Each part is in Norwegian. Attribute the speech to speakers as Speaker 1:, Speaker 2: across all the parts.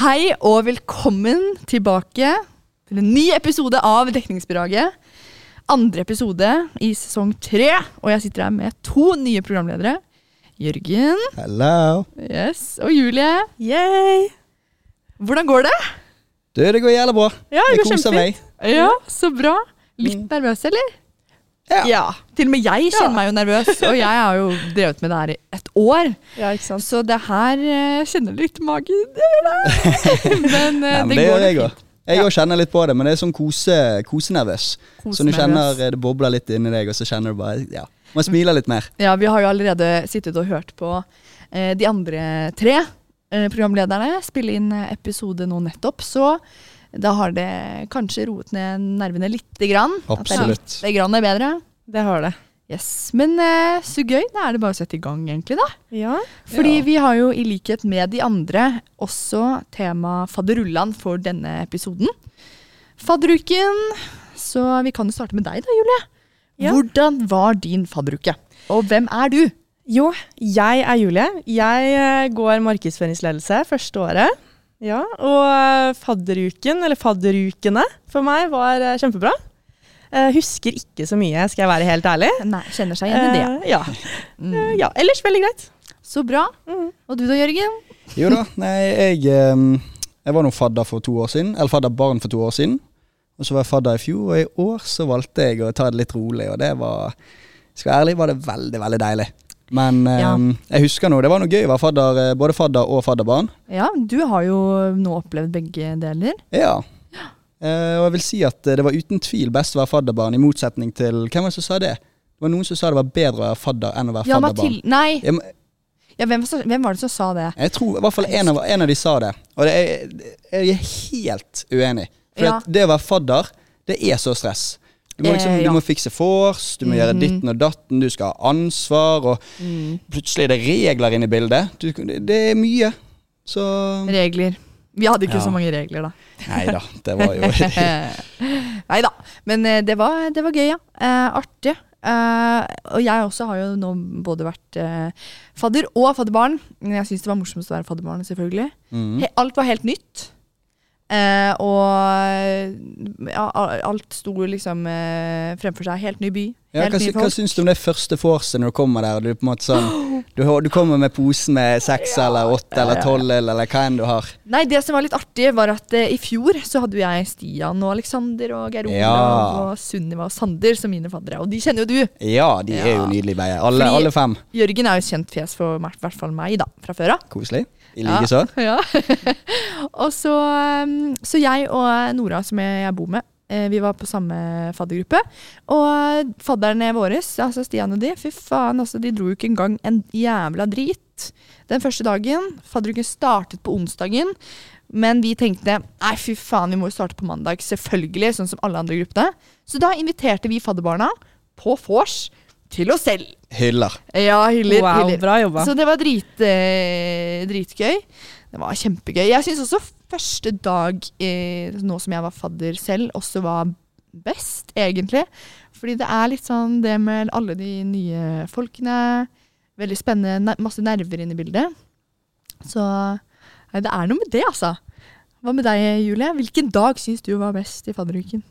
Speaker 1: Hei og velkommen tilbake til en ny episode av Dekningsbidraget. Andre episode i sesong tre, og jeg sitter her med to nye programledere. Jørgen
Speaker 2: Hello.
Speaker 1: yes, og Julie.
Speaker 3: Yay!
Speaker 1: Hvordan går det?
Speaker 2: Du, det går jævlig bra.
Speaker 3: Ja, det
Speaker 2: Jeg
Speaker 3: går
Speaker 2: koser
Speaker 3: kjempefint.
Speaker 2: meg.
Speaker 1: Ja, Så bra. Mm. Litt nervøs, eller?
Speaker 2: Ja.
Speaker 1: Til og med jeg kjenner meg jo nervøs, og jeg har jo drevet med det her i et år.
Speaker 3: Ja, ikke sant.
Speaker 1: Så det her eh, kjenner litt i magen. Det gjør det. Men, eh,
Speaker 2: Nei, men
Speaker 1: det
Speaker 2: det
Speaker 1: går
Speaker 2: gjør jeg
Speaker 1: nok
Speaker 2: òg. Jeg òg kjenner litt på det, men det er sånn kose, kosenervøs.
Speaker 1: fint.
Speaker 2: Så du
Speaker 1: Kosenervøs.
Speaker 2: kjenner eh, det bobler litt inni deg, og så kjenner du bare Ja. Man smiler litt mer.
Speaker 1: Ja, vi har jo allerede sittet og hørt på eh, de andre tre eh, programlederne spille inn eh, episode nå nettopp, så da har det kanskje roet ned nervene lite grann. At
Speaker 2: Absolutt.
Speaker 1: det er lite grann er bedre.
Speaker 3: Det har det.
Speaker 1: Yes, Men eh, så gøy. Da er det bare å sette i gang, egentlig. da.
Speaker 3: Ja.
Speaker 1: Fordi
Speaker 2: Ja.
Speaker 1: vi har jo i likhet med de andre også tema fadderullan for denne episoden. Fadderuken. Så vi kan jo starte med deg da, Julie.
Speaker 3: Ja.
Speaker 1: Hvordan var din fadderuke? Og hvem er du?
Speaker 3: Jo, jeg er Julie. Jeg eh, går markedsføringsledelse første året. Ja, og eh, fadderuken, eller fadderukene, for meg var eh, kjempebra. Eh, Husker ikke så mye, skal jeg være helt ærlig.
Speaker 1: Nei, kjenner seg igjen i det.
Speaker 3: Eh, Ja. Eh, ja. Ellers veldig greit.
Speaker 1: Så bra.
Speaker 3: Mm.
Speaker 1: Og du da, Jørgen?
Speaker 2: Jo da, nei, jeg, ehm, jeg var nå fadder for to år siden, eller fadderbarn for to år siden. Og så var jeg fadder i fjor, og i år så valgte jeg å ta det litt rolig, og det var Skal jeg være ærlig, var det veldig, veldig deilig. Men
Speaker 1: Ja.
Speaker 2: ehm, jeg husker nå, det var noe gøy å være fadder, eh, både fadder og fadderbarn.
Speaker 1: Ja, du har jo nå opplevd begge deler.
Speaker 2: Ja. Eh, og jeg vil si at eh, det var uten tvil best å være fadderbarn, i motsetning til Hvem var det som sa det? Det var noen som sa det var bedre å være fadder enn å være
Speaker 1: Ja,
Speaker 2: fadderbarn.
Speaker 1: Mathilde Nei,
Speaker 2: Ja, men
Speaker 1: ja, hvem, som- hvem var det som sa det?
Speaker 2: jeg tror i hvert fall en av, en av de sa det, og det er, jeg er helt uenig. For
Speaker 1: Ja.
Speaker 2: at det å være fadder, det er så stress. Du må,
Speaker 1: Eh,
Speaker 2: liksom,
Speaker 1: ja. Mhm.
Speaker 2: du må fikse vors, du må gjøre ditten og datten, du skal ha ansvar, og plutselig er det regler inne i bildet. Du, det, det er mye. Så
Speaker 1: Regler. Vi hadde ikke
Speaker 2: Ja.
Speaker 1: så mange regler, da.
Speaker 2: Nei da, det var jo
Speaker 1: Nei da. Men eh, det var, det var gøy, ja. Eh, artig. Eh, og jeg også har jo nå både vært eh, fadder og fadderbarn. Men jeg syns det var morsomst å være fadderbarn, selvfølgelig.
Speaker 2: Mhm.
Speaker 1: He, alt var helt nytt. Eh, og ja, a- alt sto liksom eh, fremfor seg. Helt ny by.
Speaker 2: Ja,
Speaker 1: Helt
Speaker 2: hva,
Speaker 1: nye
Speaker 2: sy- hva
Speaker 1: folk.
Speaker 2: syns du om det første vorset når du kommer der? og Du, er på en måte sånn, du, har- du kommer med posen med seks eller åtte eller tolv eller, eller hva enn du har.
Speaker 1: Nei, det som var litt artig, var at eh, i fjor så hadde jo jeg Stian og Aleksander og Geir Olav
Speaker 2: Ja.
Speaker 1: og Sunniva og Sander som mine faddere. Og de kjenner jo du.
Speaker 2: Ja, de er jo nydelige begge. Alle,
Speaker 1: Fordi-
Speaker 2: alle fem.
Speaker 1: Jørgen er jo et kjent fjes for i hvert fall meg, da, fra før av.
Speaker 2: Koselig. I likeså.
Speaker 1: Ja. og så, um, så jeg og Nora, som jeg, jeg bor med, eh, vi var på samme faddergruppe. Og fadderne våre, altså Stian og de, fy faen, altså, de dro jo ikke engang en jævla drit den første dagen. Fadderuken startet på onsdagen. Men vi tenkte nei fy faen, vi må jo starte på mandag, selvfølgelig, sånn som alle andre gruppene. Så da inviterte vi fadderbarna på vors til oss selv.
Speaker 2: Hyller.
Speaker 1: Ja, hyller.
Speaker 3: Wow,
Speaker 1: hyller.
Speaker 3: bra jobba.
Speaker 1: Så det var drit, eh, dritgøy. Det var kjempegøy. Jeg syns også første dag, eh, nå som jeg var fadder selv, også var best, egentlig. Fordi det er litt sånn det med alle de nye folkene. Veldig spennende. ne- Masse nerver inne i bildet. Så nei, det er noe med det, altså. Hva med deg, Julie? Hvilken dag syns du var best i fadderuken?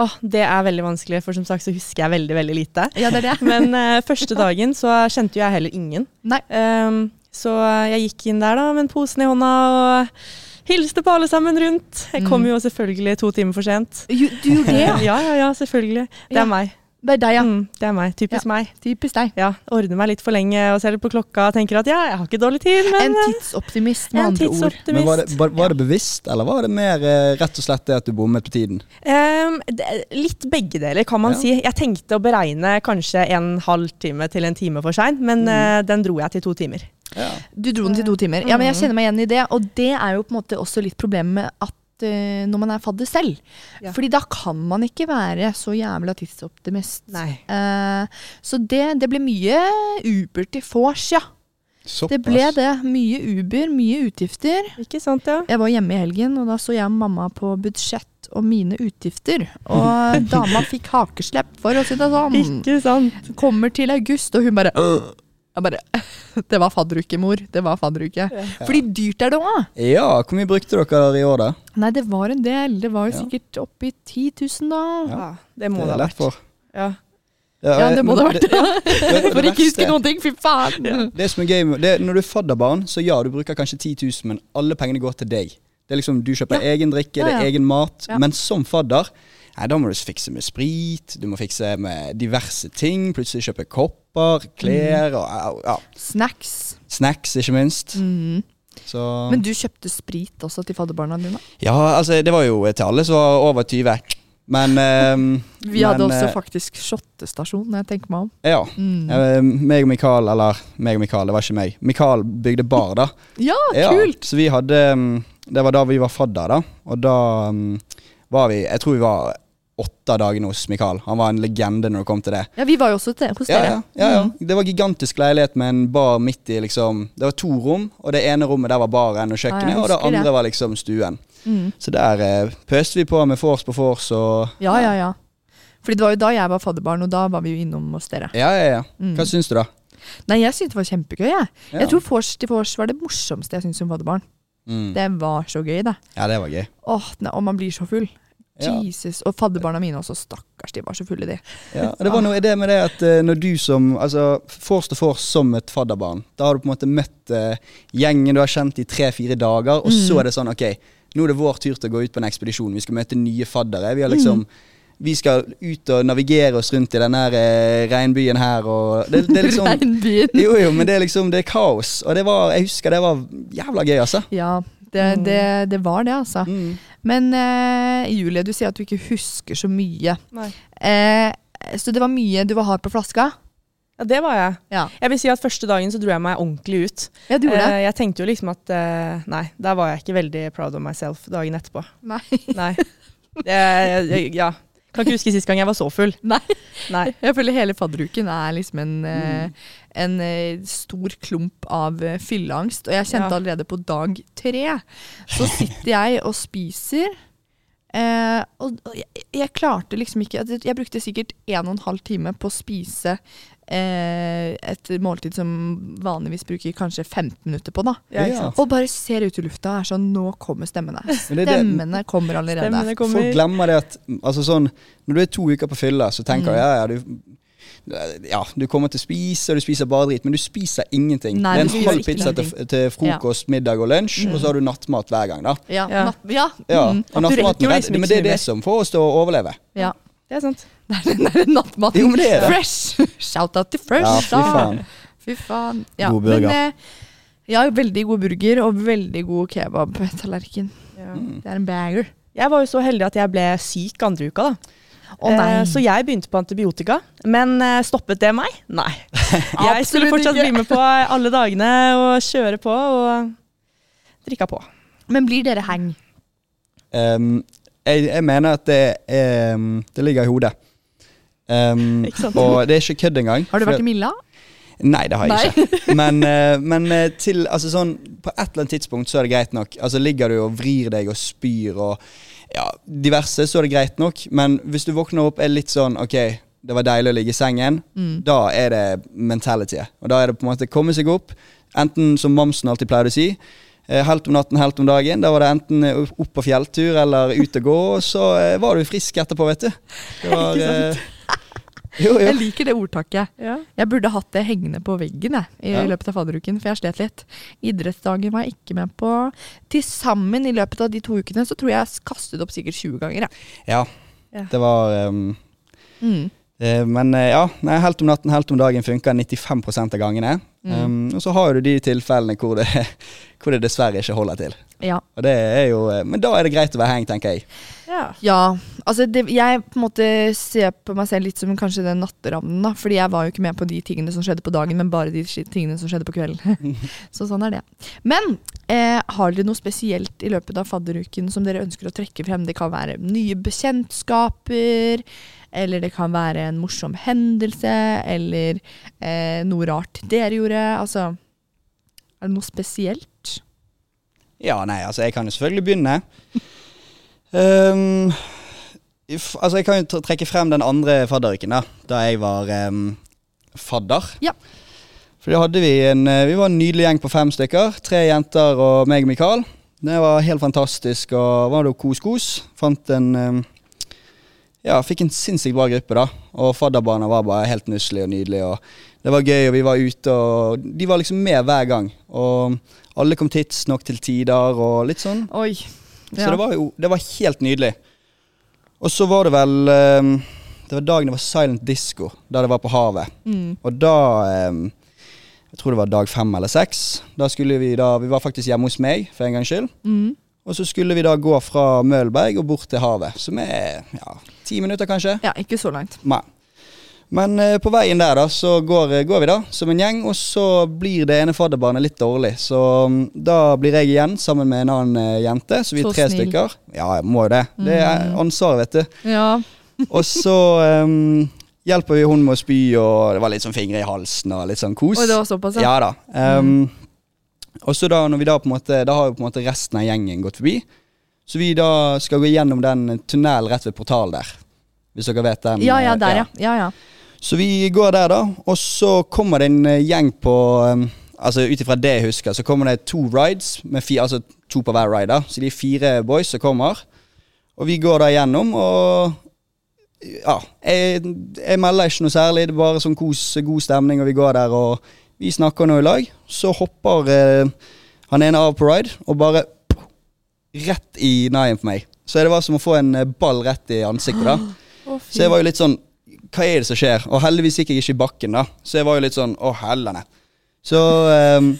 Speaker 3: Åh, det er veldig vanskelig, for som sagt så husker jeg veldig, veldig lite.
Speaker 1: Ja, det er det.
Speaker 3: Men eh, første dagen så kjente jo jeg heller ingen.
Speaker 1: Nei.
Speaker 3: Ehm, så jeg gikk inn der da med posen i hånda og hilste på alle sammen rundt. Jeg kom
Speaker 1: Mm.
Speaker 3: jo selvfølgelig to timer for sent.
Speaker 1: Du gjorde det,
Speaker 3: Ja,
Speaker 1: ja.
Speaker 3: ja, ja, selvfølgelig. Det
Speaker 1: Ja.
Speaker 3: er meg.
Speaker 1: Det er deg, ja.
Speaker 3: Mm, det er meg. Typisk meg.
Speaker 1: Typisk deg.
Speaker 3: Ja, Ordner meg litt for lenge og ser litt på klokka og tenker at ja, jeg har ikke dårlig tid, men
Speaker 1: En
Speaker 3: eh,
Speaker 1: tidsoptimist, med
Speaker 3: en
Speaker 1: andre ord.
Speaker 2: Men var det,
Speaker 3: tidsoptimist.
Speaker 2: var, var det bevisst, eller var det mer eh, rett og slett det at du bommet på tiden?
Speaker 3: Ehm, det- litt begge deler, kan man
Speaker 2: Ja.
Speaker 3: si. Jeg tenkte å beregne kanskje en halvtime til en time for sein,
Speaker 1: Mm.
Speaker 3: men eh, den dro jeg til to timer.
Speaker 2: Ja.
Speaker 1: Du dro den til
Speaker 3: Mm.
Speaker 1: to timer. Ja, men Jeg kjenner meg igjen i det. Og det er jo på en måte også litt problemet med at eh, når man er fadder selv.
Speaker 3: Ja.
Speaker 1: Fordi da kan man ikke være så jævla tidsoptimist.
Speaker 3: Nei.
Speaker 1: Eh, så det, det ble mye Uber til vors, ja. Det ble det. Mye Uber, mye utgifter.
Speaker 3: Ikke sant, ja?
Speaker 1: Jeg var hjemme i helgen, og da så jeg og mamma på budsjett og mine utgifter. Og dama fikk hakeslepp, for å si det sånn.
Speaker 3: Ikke sant.
Speaker 2: Øh.
Speaker 1: Kommer til august, og hun bare Jeg bare, det var fadderuke, mor. Det var fadderuke. Fordi dyrt er det òg.
Speaker 2: Ja, hvor mye brukte dere i år, da?
Speaker 1: Nei, det var en del. Det var jo
Speaker 2: Ja.
Speaker 1: sikkert oppi 10 000, da.
Speaker 3: Ja, det
Speaker 2: Det
Speaker 3: må det
Speaker 2: er
Speaker 3: ha
Speaker 2: lett
Speaker 3: vært.
Speaker 2: for. Eh,
Speaker 3: Ja.
Speaker 1: Ja, det må det ha vært. det. For ikke huske noen ting. Fy faen.
Speaker 2: Det som er gøy, med- det, er når du er fadderbarn, så ja, du bruker kanskje 10 000, men alle pengene går til deg. Det er liksom, Du kjøper egen drikke,
Speaker 1: Ja,
Speaker 2: det
Speaker 1: ja.
Speaker 2: er egen mat.
Speaker 1: Ja.
Speaker 2: Men som fadder, nei, da må du fikse med sprit, du må fikse med diverse ting. Plutselig kjøpe kopper, klær og ja, ja,
Speaker 1: Snacks.
Speaker 2: snacks, ikke minst.
Speaker 1: Mm.
Speaker 2: Så
Speaker 1: Men du kjøpte sprit også til fadderbarna dine?
Speaker 2: Ja, altså, det var jo til alle som var over 20. Men ehm,
Speaker 1: Vi hadde
Speaker 2: men,
Speaker 1: også
Speaker 2: eh,
Speaker 1: faktisk shottestasjon, når jeg tenker meg om.
Speaker 2: Ja.
Speaker 1: Mm.
Speaker 2: Eh, Meg og Mikael, eller meg og Mikael, det var ikke meg. Mikael bygde bar, da.
Speaker 1: Ja,
Speaker 2: Ja,
Speaker 1: kult!
Speaker 2: Så vi hadde mm, Det var da vi var fadder, da. Og da mm, var vi Jeg tror vi var åtte av dagene hos Mikael. Han var en legende når det kom til det.
Speaker 1: Ja, vi var jo også til, hos
Speaker 2: Ja, ja,
Speaker 1: dere.
Speaker 2: ja, ja.
Speaker 1: Mm.
Speaker 2: Det var gigantisk leilighet med en bar midt i, liksom. Det var to rom, og det ene rommet der var baren og
Speaker 1: Ja,
Speaker 2: kjøkkenet,
Speaker 1: jeg
Speaker 2: og det
Speaker 1: husker det.
Speaker 2: andre var liksom stuen.
Speaker 1: Mm.
Speaker 2: Så der eh, pøste vi på med vors på vors og
Speaker 1: Ja, ja, ja. Fordi det var jo da jeg var fadderbarn, og da var vi jo innom hos dere.
Speaker 2: Ja, ja, ja.
Speaker 1: Mm.
Speaker 2: Hva syns du, da?
Speaker 1: Nei, jeg syntes det var kjempegøy, jeg.
Speaker 2: Ja.
Speaker 1: Jeg tror vors til vors var det morsomste jeg syntes som fadderbarn.
Speaker 2: Mm.
Speaker 1: Det var så gøy, det.
Speaker 2: Ja, det var gøy.
Speaker 1: Åh, nei, og man blir så full.
Speaker 2: Ja.
Speaker 1: Jesus. Og fadderbarna mine også, stakkars, de var så fulle, de.
Speaker 2: Ja, og det var noe i det med det at eh, når du som altså, Force to force som et fadderbarn, da har du på en måte møtt eh, gjengen du har kjent i tre-fire dager, og så er det sånn OK, nå er det vår tur til å gå ut på en ekspedisjon. Vi skal møte nye faddere. Vi har liksom Vi skal ut og navigere oss rundt i den her eh, regnbyen her, og det, det er liksom
Speaker 1: Regnbyen.
Speaker 2: Jo, jo, men det er liksom Det er kaos. Og det var Jeg husker det var jævla gøy, altså.
Speaker 1: Ja, det, det, det var det, altså.
Speaker 2: Mm.
Speaker 1: Men eh, Julie, du sier at du ikke husker så mye.
Speaker 3: Nei.
Speaker 1: Eh, så det var mye du var hard på flaska?
Speaker 3: Ja, det var jeg.
Speaker 1: Ja.
Speaker 3: Jeg vil si at Første dagen så dro jeg meg ordentlig ut.
Speaker 1: Ja, du gjorde det?
Speaker 3: Eh, jeg tenkte jo liksom at eh, Nei, der var jeg ikke veldig proud of myself dagen etterpå.
Speaker 2: Eh,
Speaker 1: Nei.
Speaker 3: Nei. Jeg, jeg, ja. Kan ikke huske sist gang jeg var så full.
Speaker 1: Nei.
Speaker 3: Nei.
Speaker 1: Jeg føler hele fadderuken er liksom en,
Speaker 3: Mm.
Speaker 1: eh, en eh, stor klump av eh, fylleangst. Og jeg kjente
Speaker 3: Ja.
Speaker 1: allerede på dag tre. Så sitter jeg og spiser. Eh, og og jeg, jeg klarte liksom ikke Jeg jeg brukte sikkert en og en halv time på å spise eh, et måltid som vanligvis bruker kanskje 15 minutter på, da.
Speaker 3: Ja, ikke
Speaker 2: Ja.
Speaker 3: sant?
Speaker 1: Og bare ser ut i lufta og er sånn Nå kommer stemmene.
Speaker 2: Men det er det-
Speaker 1: Stemmene kommer allerede.
Speaker 3: Stemmene kommer.
Speaker 2: Folk glemmer det at altså sånn, Når du er to uker på fylla, så tenker du ja, ja, du ja, du kommer til å spise, og du spiser bare drit, men du spiser ingenting.
Speaker 1: Nei,
Speaker 2: det
Speaker 1: du
Speaker 2: er en
Speaker 1: gjør
Speaker 2: halv
Speaker 1: ikke
Speaker 2: pizza til, til frokost, middag og lunsj, og så har du nattmat hver gang. da.
Speaker 1: Ja.
Speaker 3: Ja.
Speaker 1: natt- ja.
Speaker 2: Ja,
Speaker 1: mm,
Speaker 2: og
Speaker 3: du rekker
Speaker 2: nattmaten
Speaker 3: jo
Speaker 2: er-
Speaker 3: liksom ikke
Speaker 2: Men det er
Speaker 3: så mye mer.
Speaker 2: det som får oss til å overleve.
Speaker 1: ja.
Speaker 3: Det er sant.
Speaker 1: Det er den der nattmaten.
Speaker 2: Jo, men det er det.
Speaker 1: Fresh! Shout-out til Fresh,
Speaker 2: Ja, fy faen.
Speaker 1: da! Fy faen. Ja,
Speaker 2: God burger.
Speaker 1: Men, eh, ja, veldig god burger og veldig god kebabtallerken.
Speaker 3: Ja.
Speaker 1: Det er en banger.
Speaker 3: Jeg var jo så heldig at jeg ble syk andre uka, da.
Speaker 1: Å, nei.
Speaker 3: Eh, Så jeg begynte på antibiotika. Men eh, stoppet det meg? Nei. Jeg
Speaker 1: Absolutt
Speaker 3: skulle fortsatt
Speaker 1: ikke.
Speaker 3: bli med på alle dagene og kjøre på og drikka på.
Speaker 1: Men blir dere heng?
Speaker 2: Ehm, jeg, jeg mener at det, er, ehm, det ligger i hodet. Ehm,
Speaker 3: Ikke sant?
Speaker 2: og det er ikke kødd engang.
Speaker 1: Har du
Speaker 2: for-
Speaker 1: vært i Milla?
Speaker 2: Nei, det har jeg ikke. Men, eh, men eh, til, altså sånn, på et eller annet tidspunkt så er det greit nok. Altså Ligger du og vrir deg og spyr og ja, diverse, så er det greit nok. Men hvis du våkner opp er litt sånn OK, det var deilig å ligge i sengen. Da er det mentality. Og da er det på en måte komme seg opp. Enten som mamsen alltid pleide å si. eh, Helt om natten, helt om dagen. Da var det enten eh, opp på fjelltur eller ut og gå. Og så eh, var du frisk etterpå, vet du. Det var, eh, jo, jo.
Speaker 1: Jeg liker det ordtaket. Jeg burde hatt det hengende på veggen jeg, i
Speaker 2: Ja.
Speaker 1: løpet av fadderuken, for jeg slet litt. Idrettsdagen var jeg ikke med på. Til sammen i løpet av de to ukene så tror jeg jeg kastet opp sikkert 20 ganger. Jeg.
Speaker 2: Ja,
Speaker 3: Ja.
Speaker 2: det var ehm,
Speaker 1: Mm.
Speaker 2: Eh, Men eh, ja, nei, helt om natten, helt om dagen funker 95 av gangene. Um, og så har du de tilfellene hvor det, hvor det dessverre ikke holder til.
Speaker 1: Ja.
Speaker 2: Og det er jo, eh, men da er det greit å være heng, tenker jeg.
Speaker 3: Ja.
Speaker 1: Ja, altså det, jeg på en måte ser på meg selv litt som kanskje den natteravnen da, fordi jeg var jo ikke med på de tingene som skjedde på dagen, men bare de sk- tingene som skjedde på kvelden. så sånn er det. Men eh, har dere noe spesielt i løpet av fadderuken som dere ønsker å trekke frem? Det kan være nye bekjentskaper, eller det kan være en morsom hendelse, eller eh, noe rart dere gjorde. Altså, er det noe spesielt?
Speaker 2: Ja, nei, altså jeg kan jo selvfølgelig begynne. Um, if, altså jeg kan jo tre- trekke frem den andre fadderuken da, da jeg var um, ehm, fadder.
Speaker 1: Ja.
Speaker 2: For det hadde vi en eh, Vi var en nydelig gjeng på fem stykker. Tre jenter og meg og Mikael. Det var helt fantastisk. Og var det jo kos-kos. Fant en eh, Ja, fikk en sinnssykt bra gruppe, da. Og fadderbarna var bare helt nusselig og nydelig. Og det var gøy, og vi var ute, og de var liksom med hver gang. Og alle kom tidsnok til tider, og litt sånn.
Speaker 1: Oi.
Speaker 2: Så det var jo det var helt nydelig. Og så var det vel ehm, Det var dagen det var silent disco, der det var på havet.
Speaker 1: Mm.
Speaker 2: Og da ehm, Jeg tror det var dag fem eller seks. Da skulle vi da Vi var faktisk hjemme hos meg, for en gangs skyld.
Speaker 1: Mm.
Speaker 2: Og så skulle vi da gå fra Mølberg og bort til havet, som er ja, ti minutter, kanskje.
Speaker 1: Ja, ikke så langt.
Speaker 2: Nei. Men eh, på veien der da, så går, eh, går vi da, som en gjeng, og så blir det ene fadderbarnet litt dårlig. Så mm, da blir jeg igjen sammen med en annen eh, jente, så vi er
Speaker 1: Så
Speaker 2: tre
Speaker 1: snill. Mm.
Speaker 2: stykker. Ja, jeg må jo det. Det er ansvaret, vet du.
Speaker 1: Ja.
Speaker 2: Og så em, hjelper vi hun med å spy, og det var litt sånn fingre i halsen og litt sånn kos.
Speaker 1: Og det var Mm. såpass, ja.
Speaker 2: Ja da. Ehm, Og så da, når vi da på en måte, da har jo på en måte resten av gjengen gått forbi. Så vi da skal gå gjennom den tunnelen rett ved portalen der. Hvis dere vet den.
Speaker 1: Ja,
Speaker 2: eh,
Speaker 1: ja, der, ja. ja, ja.
Speaker 2: Så vi går der, da. Og så kommer det en eh, gjeng på eh, Altså ut ifra det jeg husker, så kommer det to rides, med fi, altså to på hver ride. da Så de er fire boys som kommer. Og vi går da gjennom, og Ja. Jeg, jeg melder ikke noe særlig, det er bare sånn kos, god stemning, og vi går der, og vi snakker nå i lag. Så hopper eh, han ene av på ride, og bare rett i naien på meg. Så det var som å få en eh, ball rett i ansiktet, da.
Speaker 3: Å, fy.
Speaker 2: Så jeg var jo litt sånn Hva er det som skjer? Og heldigvis gikk jeg ikke i bakken, da. Så jeg var jo litt sånn Å, hellene. Så um,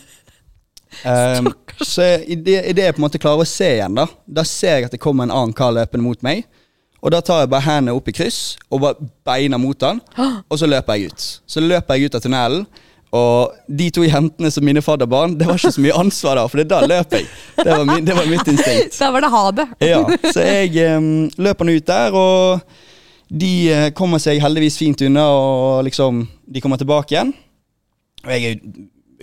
Speaker 2: um, Så idet jeg på en måte klarer å se igjen, da, da ser jeg at det kommer en annen kar løpende mot meg. Og da tar jeg bare hendene opp i kryss og bare beina mot han, og så løper jeg ut. Så løper jeg ut av tunnelen. Og de to jentene som mine fadderbarn, det var ikke så mye ansvar da, for da løper jeg. Det var, min, det var mitt instinkt.
Speaker 1: Der var det ha det.
Speaker 2: Ja, så jeg um, løper nå ut der, og de eh, kommer seg heldigvis fint unna, og liksom, de kommer tilbake igjen. Og jeg er,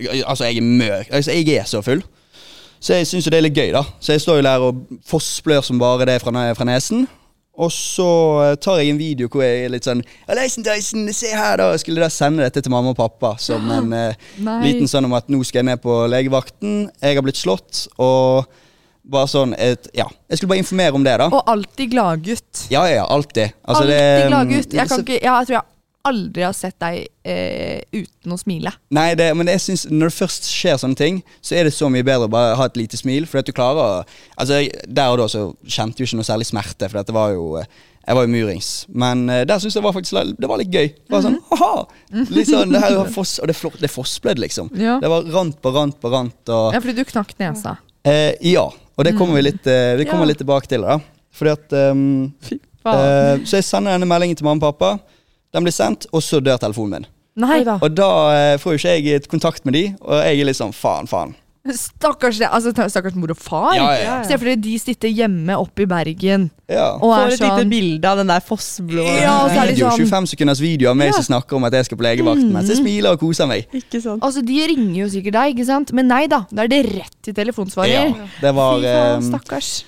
Speaker 2: jo- altså, jeg er mørk, altså, jeg er så full. Så jeg syns jo det er litt gøy, da. Så jeg står jo der og fossblør som bare det fra, ne- fra nesen. Og så eh, tar jeg en video hvor jeg er litt sånn Leisen, Dyson, se her, da! Jeg skulle da sende dette til mamma og pappa som en eh,
Speaker 1: Nei.
Speaker 2: liten sånn om at nå skal jeg ned på legevakten, jeg har blitt slått, og bare sånn et, Ja. Jeg skulle bare informere om det, da.
Speaker 1: Og alltid gladgutt.
Speaker 2: Ja, ja, ja, alltid. Altså, det-
Speaker 1: alltid gladgutt. Jeg, kan
Speaker 2: så-
Speaker 1: ikke, ja, jeg tror jeg aldri har sett deg eh, uten å smile.
Speaker 2: Nei, det, men jeg synes når det først skjer sånne ting, så er det så mye bedre å bare ha et lite smil. For at du klarer å Altså, jeg- Der og da så kjente jeg jo ikke noe særlig smerte, for det var jo eh, jeg var jo murings, men eh, der syns jeg det var faktisk litt- det var litt gøy. Det var
Speaker 1: Mhm.
Speaker 2: sånn, haha! Litt sånn, det her var foss, og det, flå- det fossblødd, liksom.
Speaker 1: Ja.
Speaker 2: Det var rant på rant på rant. Og,
Speaker 1: Ja, fordi du knakk nesa.
Speaker 2: eh, ja, og det kommer vi litt, eh, vi kommer
Speaker 1: Mm. Ja.
Speaker 2: litt tilbake til. da. Fordi at ehm,
Speaker 1: Faen.
Speaker 2: Eh, så jeg sender denne meldingen til mamma og pappa. Den blir sendt, og så dør telefonen min.
Speaker 1: Nei,
Speaker 3: Oi da.
Speaker 2: Og da eh, får jo ikke jeg et kontakt med de, og jeg er litt sånn faen, faen.
Speaker 1: stakkars, det- altså, ta- stakkars mor og far.
Speaker 2: Ja, ja,
Speaker 3: ja.
Speaker 1: Se for dere de sitter hjemme oppe i Bergen
Speaker 2: ja.
Speaker 1: og
Speaker 3: Får
Speaker 1: er
Speaker 3: et lite
Speaker 1: sånn
Speaker 3: bilde av den der fossblå
Speaker 1: Ja, og så er det
Speaker 2: video,
Speaker 1: sånn-
Speaker 2: 25 sekunders video av meg
Speaker 1: Ja. Mm.
Speaker 2: som snakker om at jeg skal på legevakten, mens jeg smiler og koser meg.
Speaker 3: Ikke sant.
Speaker 1: Altså, De ringer jo sikkert deg, ikke sant? men nei da. Da er det rett til telefonsvarer.
Speaker 2: Ja, det var
Speaker 1: Fy faen,
Speaker 2: eh,
Speaker 1: stakkars.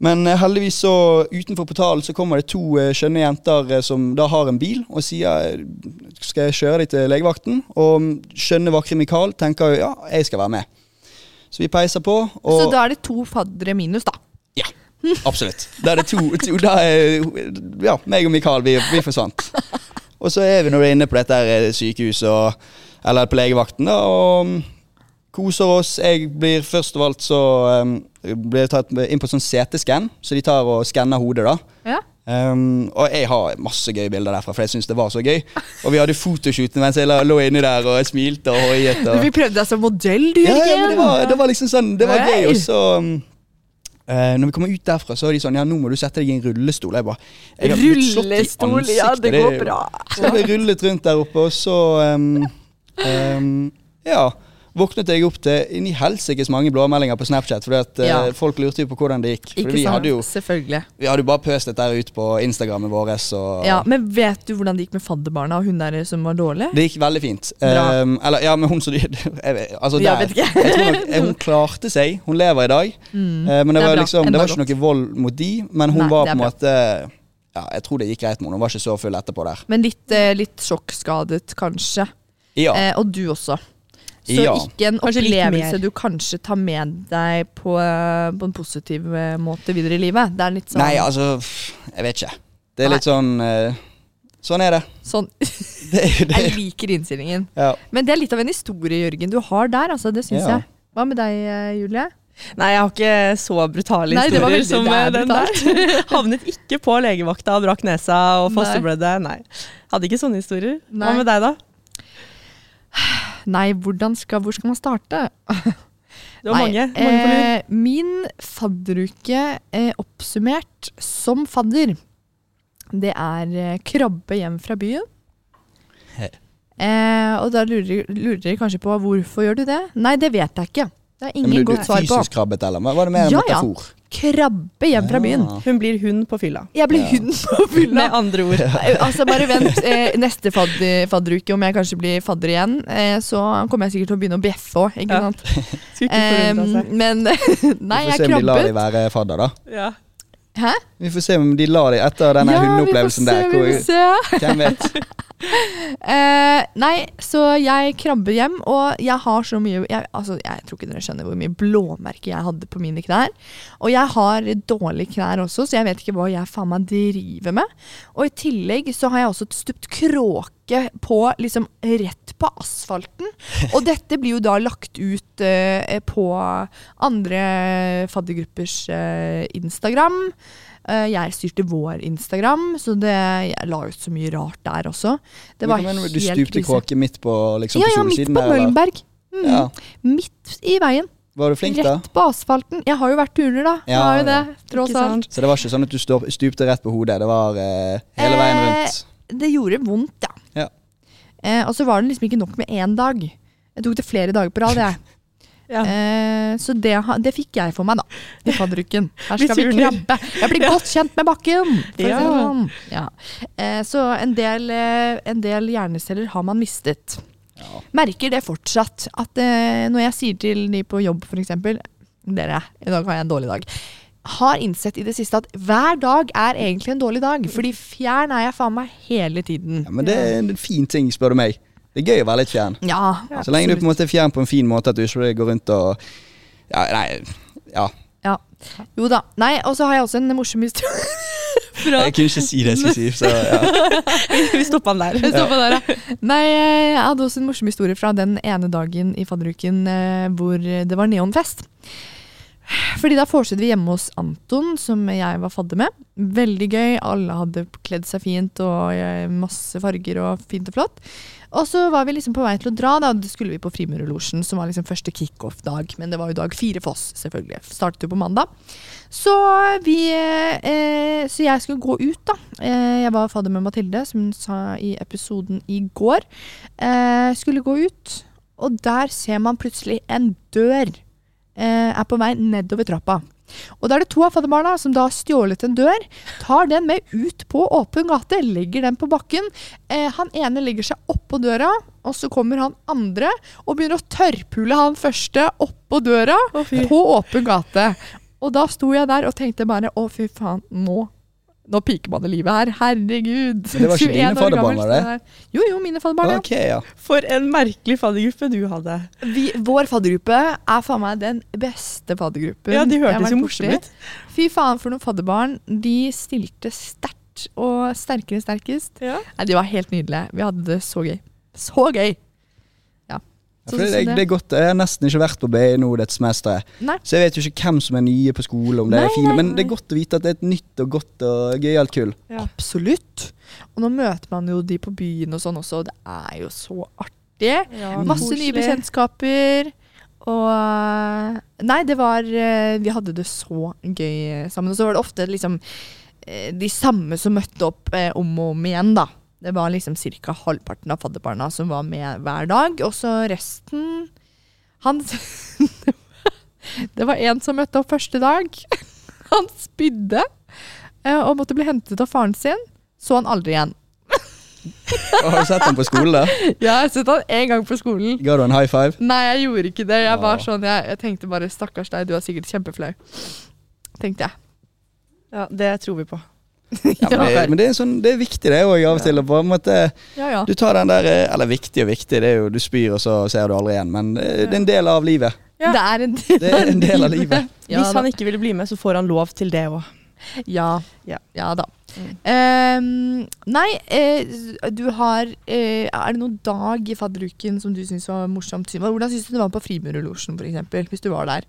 Speaker 2: Men eh, heldigvis så utenfor portalen så kommer det to eh, skjønne jenter eh, som da har en bil og sier eh, skal jeg kjøre deg til legevakten. Og mm, skjønne, vakre Mikael tenker jo ja, jeg skal være med. Så vi peiser på. Og
Speaker 1: Så da er det to faddere minus, da.
Speaker 2: Ja, absolutt. Da er det to, to da er, Ja, meg og Mikael, vi, vi forsvant. Og så er vi nå inne på dette her eh, sykehuset, og, eller på legevakten, da, og mm, koser oss. Jeg blir først av alt så um, blir jeg tatt inn på sånn CT-skann, så de tar og skanner hodet, da.
Speaker 1: Ja.
Speaker 2: Um, og jeg har masse gøye bilder derfra, for jeg syns det var så gøy. Og vi hadde photoshoot mens jeg la- lå inni der og jeg smilte og hoiet. Og
Speaker 1: Du fikk prøvd deg som modell, du,
Speaker 2: ja, ja,
Speaker 1: Jørgen.
Speaker 2: men det var, det var liksom sånn Det var
Speaker 1: altså. Nei.
Speaker 2: gøy. Og så um, eh, Når vi kommer ut derfra, så er de sånn Ja, nå må du sette deg i en rullestol. Jeg bare jeg har blitt slått i
Speaker 1: Rullestol, ja,
Speaker 2: ansiktet,
Speaker 1: det
Speaker 2: er
Speaker 1: går
Speaker 2: jo-
Speaker 1: bra.
Speaker 2: Så jeg ble rullet rundt der oppe, og så um, um, Ja. Våknet jeg opp til inni helsikes mange blåmeldinger på Snapchat, fordi at eh,
Speaker 1: Ja.
Speaker 2: folk lurte jo på hvordan det gikk. For
Speaker 1: Ikke
Speaker 2: vi
Speaker 1: sant?
Speaker 2: hadde, jo,
Speaker 1: Selvfølgelig.
Speaker 2: vi hadde jo bare pøst dette her ut på Instagrammet vårt, og
Speaker 1: Ja, men vet du hvordan det gikk med fadderbarna og hun der som var dårlig?
Speaker 2: Det gikk veldig fint.
Speaker 1: Bra.
Speaker 2: Um, eller, ja, men hun som jeg, vet- altså,
Speaker 1: Ja,
Speaker 2: der,
Speaker 1: vet ikke. Mm.
Speaker 2: jeg tror nok, eh, Hun klarte seg. Hun lever i dag. Eh, men det,
Speaker 1: det er
Speaker 2: var,
Speaker 1: bra.
Speaker 2: liksom, det
Speaker 1: Enda
Speaker 2: var ikke noe vold mot de, men hun
Speaker 1: Nei,
Speaker 2: var på
Speaker 1: det
Speaker 2: en
Speaker 1: er
Speaker 2: måte ja, Jeg tror det gikk greit med henne. Hun var ikke så full etterpå der.
Speaker 1: Men litt, eh, litt sjokkskadet, kanskje.
Speaker 2: Ja,
Speaker 1: Eh, og du også. Så
Speaker 2: Ja.
Speaker 1: ikke en
Speaker 3: Kanskje litt mer.
Speaker 1: opplevelse du kanskje tar med deg på, eh, på en positiv eh, måte videre i livet. Det er litt sånn,
Speaker 2: Nei, altså pff, Jeg vet ikke. Det er litt sånn eh, Sånn er det.
Speaker 1: sånn
Speaker 2: Det er jo det.
Speaker 1: Jeg liker innstillingen.
Speaker 2: Ja.
Speaker 1: Men det er litt av en historie, Jørgen, du har der, altså. Det syns
Speaker 2: Ja.
Speaker 1: jeg. Hva med deg, eh, Julie?
Speaker 3: Nei, jeg har ikke så brutale
Speaker 1: Nei, det var
Speaker 3: historier
Speaker 1: veldig-
Speaker 3: som
Speaker 1: det er
Speaker 3: eh, den der. Havnet ikke på legevakta og brakk nesa og
Speaker 1: Nei.
Speaker 3: fosterblødde. Nei. Hadde ikke sånne historier.
Speaker 1: Nei.
Speaker 3: Hva med deg, da?
Speaker 1: Nei, hvordan skal, hvor skal man starte?
Speaker 3: Det var
Speaker 1: Nei,
Speaker 3: mange. mange på lur.
Speaker 1: eh, min fadderuke eh, oppsummert som fadder, det er eh, krabbe hjem fra byen.
Speaker 2: Hei.
Speaker 1: Eh, og da lurer, lurer dere kanskje på hvorfor gjør du det? Nei, det vet jeg ikke. Det er
Speaker 2: Men
Speaker 1: ingen
Speaker 2: du, du
Speaker 1: godt svar på.
Speaker 2: fysisk krabbet, eller? Hva- Var det mer en
Speaker 1: Ja, ja.
Speaker 2: metafor?
Speaker 1: Krabbe hjem fra byen.
Speaker 2: Ja.
Speaker 3: Hun blir hund på fylla.
Speaker 1: Jeg ble
Speaker 2: Ah. Ja.
Speaker 1: hund på fylla.
Speaker 3: Med andre ord.
Speaker 1: Eh, Altså Bare vent eh, neste fadder, fadderuke, om jeg kanskje blir fadder igjen. Eh, så kommer jeg sikkert til å begynne å bjeffe òg, ikke
Speaker 3: Ja.
Speaker 1: sant.
Speaker 3: Skulle ikke forundre
Speaker 1: Eh,
Speaker 3: seg.
Speaker 1: men nei,
Speaker 2: Vi får se
Speaker 1: jeg
Speaker 2: om de lar deg
Speaker 1: krabbet.
Speaker 2: være fadder, da.
Speaker 3: Ja.
Speaker 1: Hæ?
Speaker 2: Vi får se om de lar deg etter denne hundeopplevelsen der.
Speaker 1: Ja, vi får
Speaker 2: Hvor,
Speaker 1: se, vi får se.
Speaker 2: hvem vet?
Speaker 1: Eh, nei, så jeg krabber hjem, og jeg har så mye jeg, altså, jeg tror ikke dere skjønner hvor mye blåmerke jeg hadde på mine knær. Og jeg har dårlige knær også, så jeg vet ikke hva jeg faen meg driver med. Og i tillegg så har jeg også stupt kråke på, liksom rett på asfalten. Og dette blir jo da lagt ut eh, på andre faddergruppers eh, Instagram. Eh, jeg styrte vår Instagram, så det, jeg la ut så mye rart der også. Det var
Speaker 2: Men
Speaker 1: helt
Speaker 2: Du stupte
Speaker 1: krise.
Speaker 2: kråke midt på, liksom,
Speaker 1: Ja,
Speaker 2: på
Speaker 1: ja, midt
Speaker 2: solsiden
Speaker 1: på
Speaker 2: der? eller?
Speaker 1: Møllenberg. Mm.
Speaker 2: Ja.
Speaker 1: Midt i veien.
Speaker 2: Var du flink, da?
Speaker 1: Rett på asfalten. Jeg har jo vært turner, da. jeg
Speaker 2: Ja,
Speaker 1: har jo
Speaker 2: ja.
Speaker 1: det, tross
Speaker 3: Ikke
Speaker 1: alt.
Speaker 3: sant?
Speaker 2: Så det var ikke sånn at du stå- stupte rett på hodet? Det var eh, hele veien rundt?
Speaker 1: det gjorde vondt, ja.
Speaker 2: Ja.
Speaker 1: Eh, og så var det liksom ikke nok med én dag. Jeg tok det flere dager på rad, jeg.
Speaker 3: Ja.
Speaker 1: Eh, så det, ha- det fikk jeg for meg, da. I fadderuken. Her
Speaker 3: Vi
Speaker 1: skal vi
Speaker 3: turner.
Speaker 1: krabbe. Jeg blir godt kjent med bakken! For å si det
Speaker 3: Ja.
Speaker 1: sånn. ja. Eh, så en del, eh, en del hjerneceller har man mistet.
Speaker 2: Ja.
Speaker 1: Merker det fortsatt. At eh, når jeg sier til de på jobb f.eks. Dere, i dag har jeg en dårlig dag. Har innsett i det siste at hver dag er egentlig en dårlig dag. Fordi fjern er jeg faen meg hele tiden.
Speaker 2: Ja, men det er en fin ting, spør du meg. Det er gøy å være litt fjern.
Speaker 1: Ja,
Speaker 2: Så lenge du på
Speaker 1: absolutt.
Speaker 2: en måte er fjern på en fin måte, at du ikke går rundt og Ja, nei ja.
Speaker 1: Ja. Jo da. Nei, og så har jeg også en morsom historie.
Speaker 2: Jeg kunne ikke si det jeg skulle si. Så, ja.
Speaker 3: Vi stoppa den der.
Speaker 1: Jeg står på der, ja. Nei, jeg hadde også en morsom historie fra den ene dagen i fadderuken eh, hvor det var neonfest. Fordi da fortsatte vi hjemme hos Anton, som jeg var fadder med. Veldig gøy, alle hadde kledd seg fint og eh, masse farger og fint og flott. Og så var vi liksom på vei til å dra, da og det skulle vi på Frimurerlosjen, som var liksom første kickoff-dag. Men det var jo dag fire for oss, selvfølgelig. Startet jo på mandag. Så, vi, eh, så jeg skulle gå ut, da. Eh, jeg var fadder med Mathilde, som hun sa i episoden i går. Eh, skulle gå ut, og der ser man plutselig en dør eh, er på vei nedover trappa. Og da er det to av fadderbarna som da har stjålet en dør, tar den med ut på åpen gate, legger den på bakken. Eh, han ene legger seg oppå døra, og så kommer han andre og begynner å tørrpule han første oppå døra
Speaker 3: Å, fy.
Speaker 1: på åpen gate. Og da sto jeg der og tenkte bare å, fy faen, nå nå piker man i livet her. Herregud.
Speaker 2: Men det var
Speaker 1: 21
Speaker 2: ikke dine
Speaker 1: år gammel,
Speaker 2: fadderbarn, var det?
Speaker 1: så er- Jo, jo, mine fadderbarn. ja.
Speaker 2: Ok, ja.
Speaker 3: For en merkelig faddergruppe du hadde.
Speaker 1: Vi, vår faddergruppe er faen meg den beste faddergruppen.
Speaker 3: Ja, De
Speaker 1: jeg har
Speaker 3: hørtes jo
Speaker 1: vært
Speaker 3: morsomme
Speaker 1: borti.
Speaker 3: ut.
Speaker 1: Fy faen for noen fadderbarn. De stilte sterkt og sterkere sterkest.
Speaker 3: Ja.
Speaker 1: Nei, De var helt nydelige. Vi hadde det så gøy. Så gøy! Ja.
Speaker 2: Ja, for det, det er godt. Jeg har nesten ikke vært på BI nå dette semesteret.
Speaker 1: Nei.
Speaker 2: Så jeg vet jo ikke hvem som er nye på skole, om det
Speaker 1: Nei,
Speaker 2: er fine.
Speaker 1: nei,
Speaker 2: Men
Speaker 1: nei.
Speaker 2: det er godt å vite at det er et nytt og godt og gøyalt kull.
Speaker 1: Absolutt. Og nå møter man jo de på byen og sånn også, og det er jo så artig.
Speaker 3: Ja,
Speaker 1: Masse
Speaker 3: koselig.
Speaker 1: nye bekjentskaper. Og Nei, det var eh, Vi hadde det så gøy eh, sammen. Og så var det ofte liksom eh, de samme som møtte opp eh, om og om igjen, da. Det var liksom ca. halvparten av fadderbarna som var med hver dag. Og så resten Han Det var en som møtte opp første dag. Han spydde eh, og måtte bli hentet av faren sin. Så han aldri igjen.
Speaker 2: Og har du sett ham på skolen, da?
Speaker 1: Jeg har sett han én gang på skolen.
Speaker 2: Ga du en high five?
Speaker 1: Nei, jeg gjorde ikke det. Jeg var
Speaker 2: Åh.
Speaker 1: sånn, jeg, jeg tenkte bare stakkars deg, du er sikkert kjempeflau. Tenkte jeg.
Speaker 3: Ja, Det tror vi på.
Speaker 2: Ja, men, det, men det, er sånn, det er viktig, det òg, av og til. å på en måte
Speaker 1: Ja, ja.
Speaker 2: Du tar den der eh, Eller viktig og viktig, det er jo du spyr, og så ser du aldri igjen. Men det, det er en del av livet.
Speaker 3: Ja.
Speaker 1: Det er en
Speaker 2: Det er en del av livet.
Speaker 1: Ja,
Speaker 3: Hvis
Speaker 1: da.
Speaker 3: han ikke ville bli med, så får han lov til det òg.
Speaker 1: Ja.
Speaker 3: Ja.
Speaker 1: da.
Speaker 3: Mm.
Speaker 1: Ehm, nei, eh, du har eh, Er det noen dag i fadderuken som du syns var morsomt? Hvordan syns du det var på Frimurerlosjen, f.eks., hvis du var der?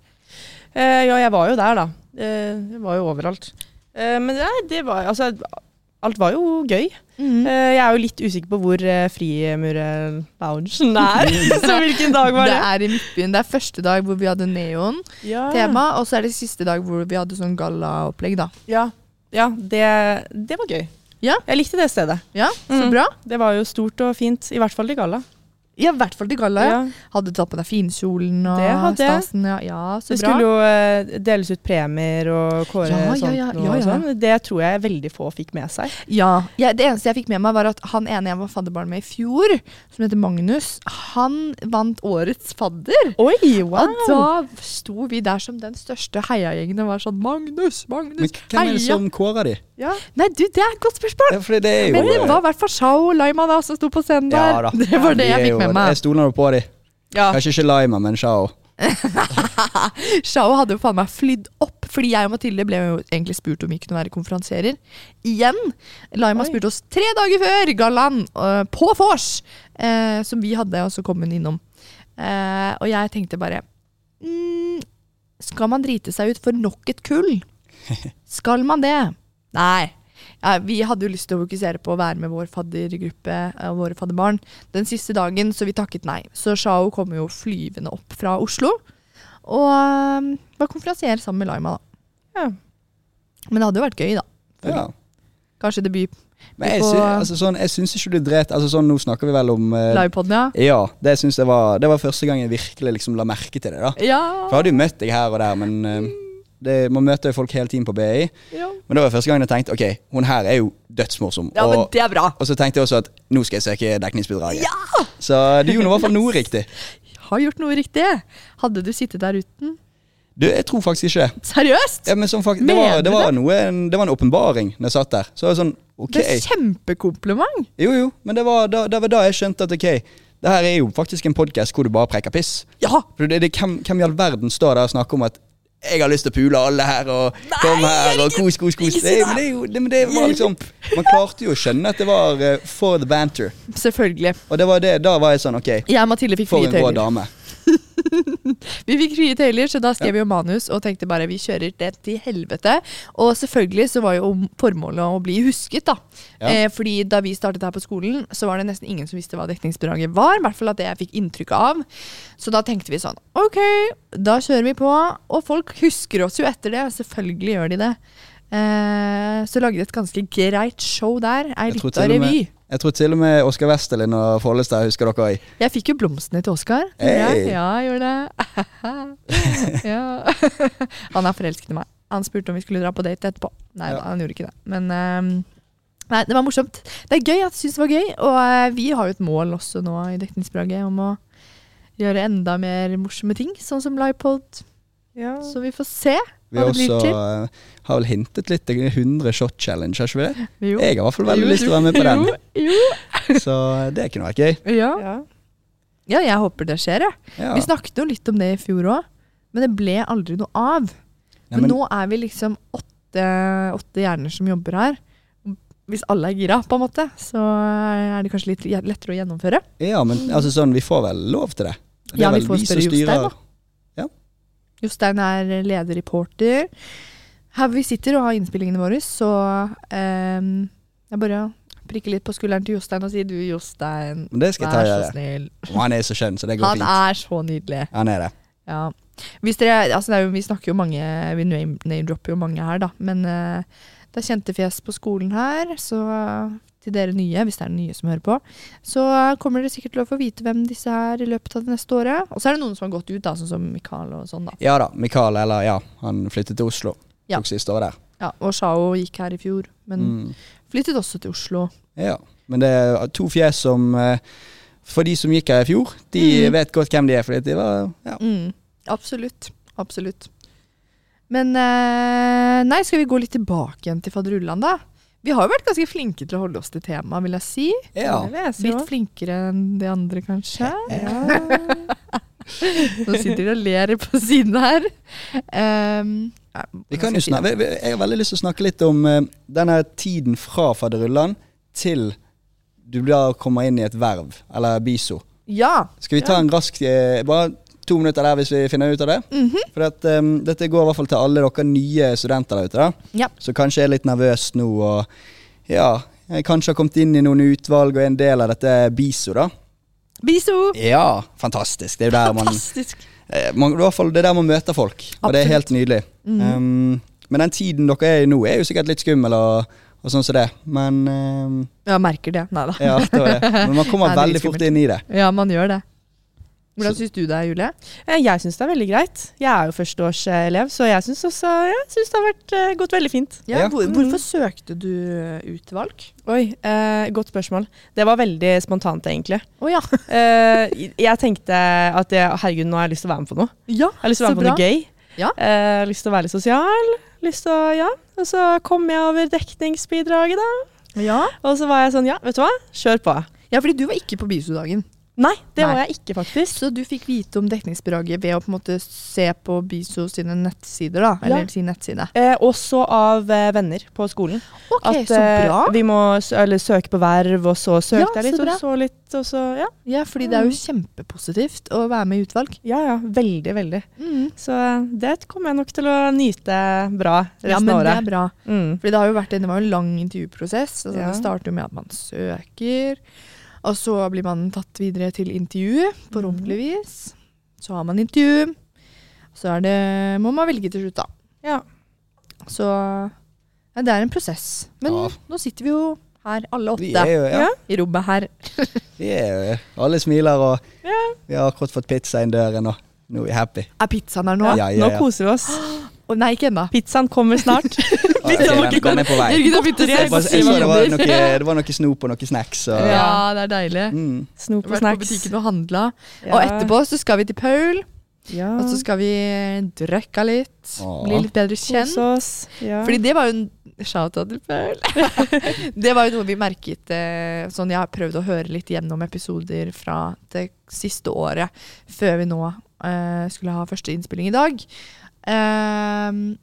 Speaker 3: Eh, ja, jeg var jo der, da. Eh, jeg var jo overalt. Eh, men nei, det var Altså, alt var jo gøy. Eh, jeg er jo litt usikker på hvor eh, Frimure-loungen er. så hvilken dag var
Speaker 1: Det
Speaker 3: det?
Speaker 1: er i Midtbyen. Det er første dag hvor vi hadde neon-tema,
Speaker 2: Ah.
Speaker 3: Ja,
Speaker 1: og så er det siste dag hvor vi hadde sånn gallaopplegg, da.
Speaker 3: Ja, ja det, det var gøy.
Speaker 1: Ja.
Speaker 3: Jeg likte det stedet.
Speaker 1: Ja, så
Speaker 3: Mm.
Speaker 1: bra.
Speaker 3: Det var jo stort og fint. I hvert fall til galla.
Speaker 1: Ja, i hvert fall til galla, ja.
Speaker 3: Ja.
Speaker 1: Hadde du tatt på deg finkjolen og
Speaker 3: Det hadde jeg.
Speaker 1: stasen? Ja, ja så
Speaker 3: Det
Speaker 1: bra.
Speaker 3: skulle jo eh, deles ut premier og kåre
Speaker 1: Ja, ja,
Speaker 3: sånt
Speaker 1: ja,
Speaker 3: noe
Speaker 1: ja,
Speaker 3: og
Speaker 1: ja.
Speaker 3: sånn. Det tror jeg veldig få fikk med seg.
Speaker 1: Ja, jeg, Det eneste jeg fikk med meg, var at han ene jeg var fadderbarn med i fjor, som heter Magnus, han vant årets fadder.
Speaker 3: Oi, wow!
Speaker 1: Og da sto vi der som den største heiagjengen og var sånn Magnus,
Speaker 2: Men
Speaker 1: Magnus,
Speaker 2: hvem er det
Speaker 1: heia!
Speaker 2: som kårer de?
Speaker 3: Ja.
Speaker 1: Nei, du, det er et godt spørsmål!
Speaker 2: Ja, fordi det er jo eh,
Speaker 1: Men det var i hvert fall Shao og Laima da som sto på scenen der.
Speaker 2: Ja da.
Speaker 1: Det var det
Speaker 2: de er
Speaker 1: jeg
Speaker 2: jo-
Speaker 1: fikk med
Speaker 2: Jeg
Speaker 1: meg.
Speaker 2: stoler nå på de.
Speaker 3: Ja.
Speaker 2: Kanskje ikke Lima, men Shao.
Speaker 1: Shao hadde jo faen meg flydd opp, fordi jeg og Mathilde ble jo egentlig spurt om vi kunne være konferansierer. Igjen. Laima
Speaker 3: Oi.
Speaker 1: spurte oss tre dager før gallaen, øh, på vors, eh, som vi hadde, og så kom hun innom. Eh, og jeg tenkte bare mm, Skal man drite seg ut for nok et kull? Skal man det? Nei. Ja, vi hadde jo lyst til å fokusere på å være med vår faddergruppe eh, og våre fadderbarn den siste dagen, så vi takket nei. Så Shao kom jo flyvende opp fra Oslo og um, var konferansier sammen med Laima, da.
Speaker 3: Ja.
Speaker 1: Men det hadde jo vært gøy, da.
Speaker 2: Ja.
Speaker 1: Kanskje det blir
Speaker 2: Men jeg,
Speaker 1: På-
Speaker 2: sy altså, sånn, jeg syns ikke du dret altså, sånn, Nå snakker vi vel om eh,
Speaker 1: livepoden, ja.
Speaker 2: Ja, det syns jeg var Det var første gang jeg virkelig liksom, la merke til det. da For jeg
Speaker 1: Ja.
Speaker 2: hadde jo møtt deg her og der, men eh, det, man møter jo folk hele tiden på BI.
Speaker 1: ja.
Speaker 2: Men det var første gang jeg tenkte ok, hun her er jo dødsmorsom.
Speaker 1: Ja, men
Speaker 2: og,
Speaker 1: det er bra.
Speaker 2: og så tenkte jeg også at nå skal jeg søke dekningsbidraget. Så du gjorde nå i hvert fall noe riktig.
Speaker 1: Har gjort noe riktig. Hadde du sittet der uten?
Speaker 2: Du, jeg tror faktisk ikke det.
Speaker 1: Seriøst?
Speaker 2: ja, men sånn, fakt det.
Speaker 1: Mener
Speaker 2: Var, det,
Speaker 1: du
Speaker 2: var noe, en, det var en åpenbaring når jeg satt der. Så jeg var sånn, ok
Speaker 1: Det er kjempekompliment.
Speaker 2: Jo, jo, men det var da, det var da jeg skjønte at ok, det her er jo faktisk en podkast hvor du bare preker piss.
Speaker 1: Ja.
Speaker 2: For det, det, hvem, hvem i all verden står der og snakker om at jeg har lyst til å pule alle her, og kom her, og kos, kos, kos.
Speaker 1: ikke si det.
Speaker 2: Det, men det, er jo, det, men det var liksom Man klarte jo å skjønne at det var eh, for the banter.
Speaker 1: Selvfølgelig.
Speaker 2: Og det var det, da var jeg sånn ok,
Speaker 1: Jeg og Mathilde fikk
Speaker 2: for
Speaker 1: frie
Speaker 2: en rå
Speaker 1: tøyler.
Speaker 2: dame.
Speaker 1: Vi fikk frie tøyler, så da skrev vi jo manus og tenkte bare vi kjører det til helvete. Og selvfølgelig så var jo formålet å bli husket, da.
Speaker 2: Ja.
Speaker 1: Eh, fordi da vi startet her på skolen, så var det nesten ingen som visste hva dekningsbidraget var. I hvert fall at det jeg fikk inntrykk av. Så da tenkte vi sånn, ok, da kjører vi på. Og folk husker oss jo etter det, selvfølgelig gjør de det. Eh, så lagde jeg et ganske greit show der. Ei
Speaker 2: Jeg tror
Speaker 1: lita
Speaker 2: til og med-
Speaker 1: revy.
Speaker 2: Jeg tror til og med Oskar Westerlin og Follestad husker dere òg.
Speaker 1: Jeg fikk jo blomstene til Oskar.
Speaker 2: Hey.
Speaker 1: Ja, jeg gjorde det. ja. Han er forelsket i meg. Han spurte om vi skulle dra på date etterpå. Nei
Speaker 2: Ja.
Speaker 1: da, han gjorde ikke det. Men ehm, nei, det var morsomt. Det er gøy at du syns det var gøy. Og eh, vi har jo et mål også nå i Dekningsbraget om å gjøre enda mer morsomme ting, sånn som livepod.
Speaker 3: Ja.
Speaker 1: Så vi får se.
Speaker 2: Vi har
Speaker 1: Hva det blir
Speaker 2: også
Speaker 1: til?
Speaker 2: eh, har vel hintet litt til 100 shot challenge, har ikke vi det?
Speaker 1: Jo.
Speaker 2: Jeg har i hvert fall
Speaker 1: Jo,
Speaker 2: veldig lyst til å
Speaker 1: du-
Speaker 2: være med på den,
Speaker 1: Jo, jo.
Speaker 2: så eh, det kunne vært gøy.
Speaker 1: Ja.
Speaker 3: Ja.
Speaker 1: ja, jeg håper det skjer, jeg.
Speaker 2: Ja.
Speaker 1: Vi snakket jo litt om det i fjor òg, men det ble aldri noe av.
Speaker 2: Nei,
Speaker 1: Men, nå er vi liksom åtte, åtte hjerner som jobber her. Hvis alle er gira, på en måte, så er det kanskje litt lettere å gjennomføre.
Speaker 2: Ja, men altså sånn, vi får vel lov til det. Det er
Speaker 1: Ja, vi
Speaker 2: vel
Speaker 1: får
Speaker 2: som
Speaker 1: spørre Jostein,
Speaker 2: styrer-
Speaker 1: da. Jostein er leder reporter. Her vi sitter og har innspillingene våre, så ehm, jeg bare prikker litt på skulderen til Jostein og sier du, Jostein,
Speaker 2: Men det skal jeg ta
Speaker 1: vær så
Speaker 2: gjøre.
Speaker 1: snill.
Speaker 2: Og han er så skjønn, så det går
Speaker 1: Han
Speaker 2: fint.
Speaker 1: er så nydelig.
Speaker 2: Han er det.
Speaker 1: Ja. Hvis dere, altså det er jo, vi snakker jo mange, vi name- name-dropper jo mange her, da. Men eh, det er kjente fjes på skolen her, så eh, til dere nye, hvis det er nye som hører på, så kommer dere sikkert til å få vite hvem disse er i løpet av det neste året. Og så er det noen som har gått ut, da, sånn som Mikael og sånn, da.
Speaker 2: Ja da, Mikael, eller ja, han flyttet til Oslo.
Speaker 1: Ja.
Speaker 2: Tok siste året der.
Speaker 1: Ja, og Shao gikk her i fjor, men
Speaker 2: Mm.
Speaker 1: flyttet også til Oslo.
Speaker 2: Ja, men det er to fjes som eh, For de som gikk her i fjor, de
Speaker 1: Mm.
Speaker 2: vet godt hvem de er, fordi de var ja.
Speaker 1: Mm, absolutt. Absolutt. Men eh, nei, skal vi gå litt tilbake igjen til fadderullan, da? Vi har jo vært ganske flinke til å holde oss til temaet, vil jeg si.
Speaker 2: Ja.
Speaker 3: Det vil jeg si
Speaker 1: Litt
Speaker 3: også.
Speaker 1: flinkere enn de andre, kanskje.
Speaker 3: Ja.
Speaker 1: Nå sitter de og ler på siden her. Ehm, nei,
Speaker 2: Vi kan jo snakke, vi- vi- jeg har veldig lyst til å snakke litt om eh, denne tiden fra fadderullan til du da kommer inn i et verv, eller biso.
Speaker 1: Ja.
Speaker 2: Skal vi ta en rask eh, Bare to minutter der hvis vi finner ut av det?
Speaker 1: Mhm.
Speaker 2: For at, eh, dette går i hvert fall til alle dere nye studenter der ute, da,
Speaker 1: Ja.
Speaker 2: som kanskje er litt nervøs nå og ja, jeg kanskje har kommet inn i noen utvalg og er en del av dette biso, da.
Speaker 1: Biso!
Speaker 2: Ja, fantastisk. Det er jo der man
Speaker 1: Fantastisk.
Speaker 2: Eh, Man, i hvert fall, det er der man møter folk, og det er helt nydelig.
Speaker 1: Mhm.
Speaker 2: Um, men den tiden dere er i nå, er jo sikkert litt skummel og, og sånn som det. Men um,
Speaker 1: Ja, merker det. Nei da.
Speaker 2: ja, det var det. Men man kommer
Speaker 1: Nei, det er
Speaker 2: veldig
Speaker 1: litt
Speaker 2: fort
Speaker 1: skummelt.
Speaker 2: inn i det.
Speaker 1: Ja, man gjør det. Hvordan
Speaker 2: Så-
Speaker 1: syns du det er, Julie?
Speaker 3: Eh, Jeg syns det er veldig greit. Jeg er jo førsteårselev, så jeg syns også ja, jeg synes det har vært, eh, gått veldig fint.
Speaker 2: Ja, Ja.
Speaker 3: hvor- hvorfor
Speaker 1: søkte du eh, utvalg?
Speaker 3: Oi, eh, godt spørsmål. Det var veldig spontant, egentlig.
Speaker 1: Å ja.
Speaker 3: Eh, jeg tenkte at jeg, herregud, nå har jeg lyst til å være med på noe.
Speaker 1: ja.
Speaker 3: Jeg har lyst til å
Speaker 1: Så
Speaker 3: være med på noe
Speaker 1: bra.
Speaker 3: gøy.
Speaker 1: Ja.
Speaker 3: Eh, lyst til å være litt sosial. Lyst til å, ja. Og så kom jeg over dekningsbidraget, da.
Speaker 1: Ja.
Speaker 3: Og så var jeg sånn, ja, vet du hva, kjør på.
Speaker 1: ja, fordi du var ikke på Bisodagen.
Speaker 3: Nei, det
Speaker 1: Nei.
Speaker 3: var jeg ikke, faktisk.
Speaker 1: Så du fikk vite om dekningsbidraget ved å på en måte se på Biso sine nettsider, da? Eller
Speaker 3: Ja.
Speaker 1: sin nettside.
Speaker 3: Eh, også av eh, venner på skolen.
Speaker 1: Ok,
Speaker 3: At, eh, Vi må s eller, søke på verv, og så søkte
Speaker 1: Ja,
Speaker 3: jeg litt,
Speaker 1: så
Speaker 3: og
Speaker 1: bra.
Speaker 3: så litt, og så ja.
Speaker 1: Ja, fordi det er jo kjempepositivt å være med i utvalg.
Speaker 3: Ja, ja, veldig, veldig.
Speaker 1: Mm.
Speaker 3: Så eh, det kommer jeg nok til å nyte bra resten
Speaker 1: Ja, men
Speaker 3: av
Speaker 1: det er
Speaker 3: året.
Speaker 1: bra.
Speaker 3: Mm.
Speaker 1: Fordi det har jo vært en, det var jo en lang intervjuprosess. Altså
Speaker 3: Ja.
Speaker 1: Det starter jo med at man søker, og så blir man tatt videre til intervju, forhåpentligvis. Så har man intervju, så er det, må man velge til slutt, da.
Speaker 3: Ja.
Speaker 1: Så ja, det er en prosess. Men
Speaker 2: Ja.
Speaker 1: nå sitter vi jo her, alle
Speaker 2: Vi
Speaker 1: åtte,
Speaker 2: er jo, ja,
Speaker 3: Ja.
Speaker 1: i rommet her.
Speaker 2: vi er jo Alle smiler, og
Speaker 3: Ja.
Speaker 2: vi har akkurat fått pizza inn døren, og nå er vi happy.
Speaker 1: Er pizzaen her nå?
Speaker 2: Ja, ja, ja.
Speaker 3: Nå koser vi oss.
Speaker 1: Å, nei, ikke ennå.
Speaker 3: Pizzaen kommer snart.
Speaker 2: Ja, jeg ser den, den er på vei.
Speaker 1: Jørgen har begynt å
Speaker 2: Jeg,
Speaker 1: se
Speaker 2: bare,
Speaker 1: på
Speaker 2: jeg så det var
Speaker 1: sider.
Speaker 2: noe, det var noe snop og noe snacks. Og,
Speaker 1: Ja, det er deilig.
Speaker 2: mm.
Speaker 3: Snop og
Speaker 1: Vært på
Speaker 3: snacks.
Speaker 1: butikken og handla.
Speaker 3: Ja.
Speaker 1: Og etterpå så skal vi til Paul.
Speaker 3: ja.
Speaker 1: Og så skal vi drikke litt,
Speaker 2: Åh.
Speaker 1: bli litt bedre kjent.
Speaker 3: Kose oss. Ja.
Speaker 1: Fordi det var jo en Shout-out til Paul. det var jo noe vi merket eh, sånn Jeg har prøvd å høre litt gjennom episoder fra det siste året, før vi nå eh, skulle ha første innspilling i dag. Ehm,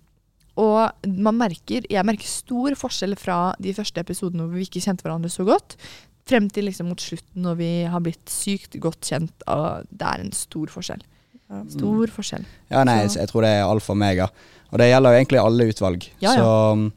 Speaker 1: og man merker, jeg merker stor forskjell fra de første episodene hvor vi ikke kjente hverandre så godt, frem til liksom mot slutten når vi har blitt sykt godt kjent. Og det er en stor forskjell.
Speaker 3: Ja.
Speaker 1: Stor forskjell.
Speaker 2: Ja, nei,
Speaker 1: Så-
Speaker 2: jeg tror det er alfa og omega. Og det gjelder jo egentlig alle utvalg.
Speaker 1: Ja, ja.
Speaker 2: Så um,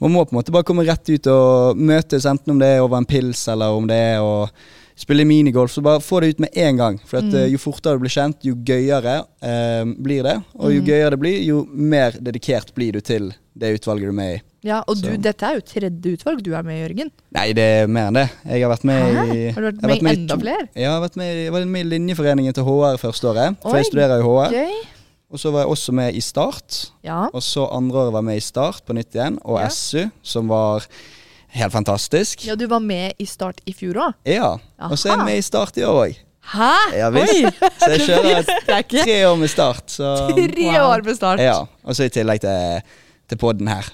Speaker 2: man må på en måte bare komme rett ut og møtes, enten om det er over en pils eller om det er å spille minigolf. Så bare få det ut med en gang. For
Speaker 1: Mm.
Speaker 2: at, eh, jo fortere du blir kjent, jo gøyere eh, blir det. Og
Speaker 1: Mm.
Speaker 2: jo gøyere det blir, jo mer dedikert blir du til det utvalget du er med i.
Speaker 1: Ja, og du,
Speaker 2: Så-
Speaker 1: dette er jo tredje utvalg du er med, Jørgen.
Speaker 2: Nei, det er mer enn det. Jeg har vært med
Speaker 1: Hæ?
Speaker 2: i
Speaker 1: Har du vært
Speaker 2: jeg
Speaker 1: med i enda
Speaker 2: to-
Speaker 1: flere?
Speaker 2: Ja, jeg har vært med, i- jeg var med i linjeforeningen til HR første året. For
Speaker 1: Oi,
Speaker 2: jeg studerer jo HR.
Speaker 1: Gøy.
Speaker 2: Og så var jeg også med i Start.
Speaker 1: Ja.
Speaker 2: Og så andre året var med i Start på nytt igjen, og
Speaker 1: Ja.
Speaker 2: SU, som var helt fantastisk. Ja.
Speaker 1: Ja, du var med i Start i fjor òg.
Speaker 2: Og så er jeg
Speaker 1: Aha.
Speaker 2: med i Start i år òg.
Speaker 1: Hæ?!
Speaker 2: Ja visst. Så jeg kjører et-
Speaker 1: Det er ikke
Speaker 2: tre år med Start. Så,
Speaker 1: tre
Speaker 3: Wow.
Speaker 1: år med Start!
Speaker 2: ja. Og så i tillegg til, til podden her.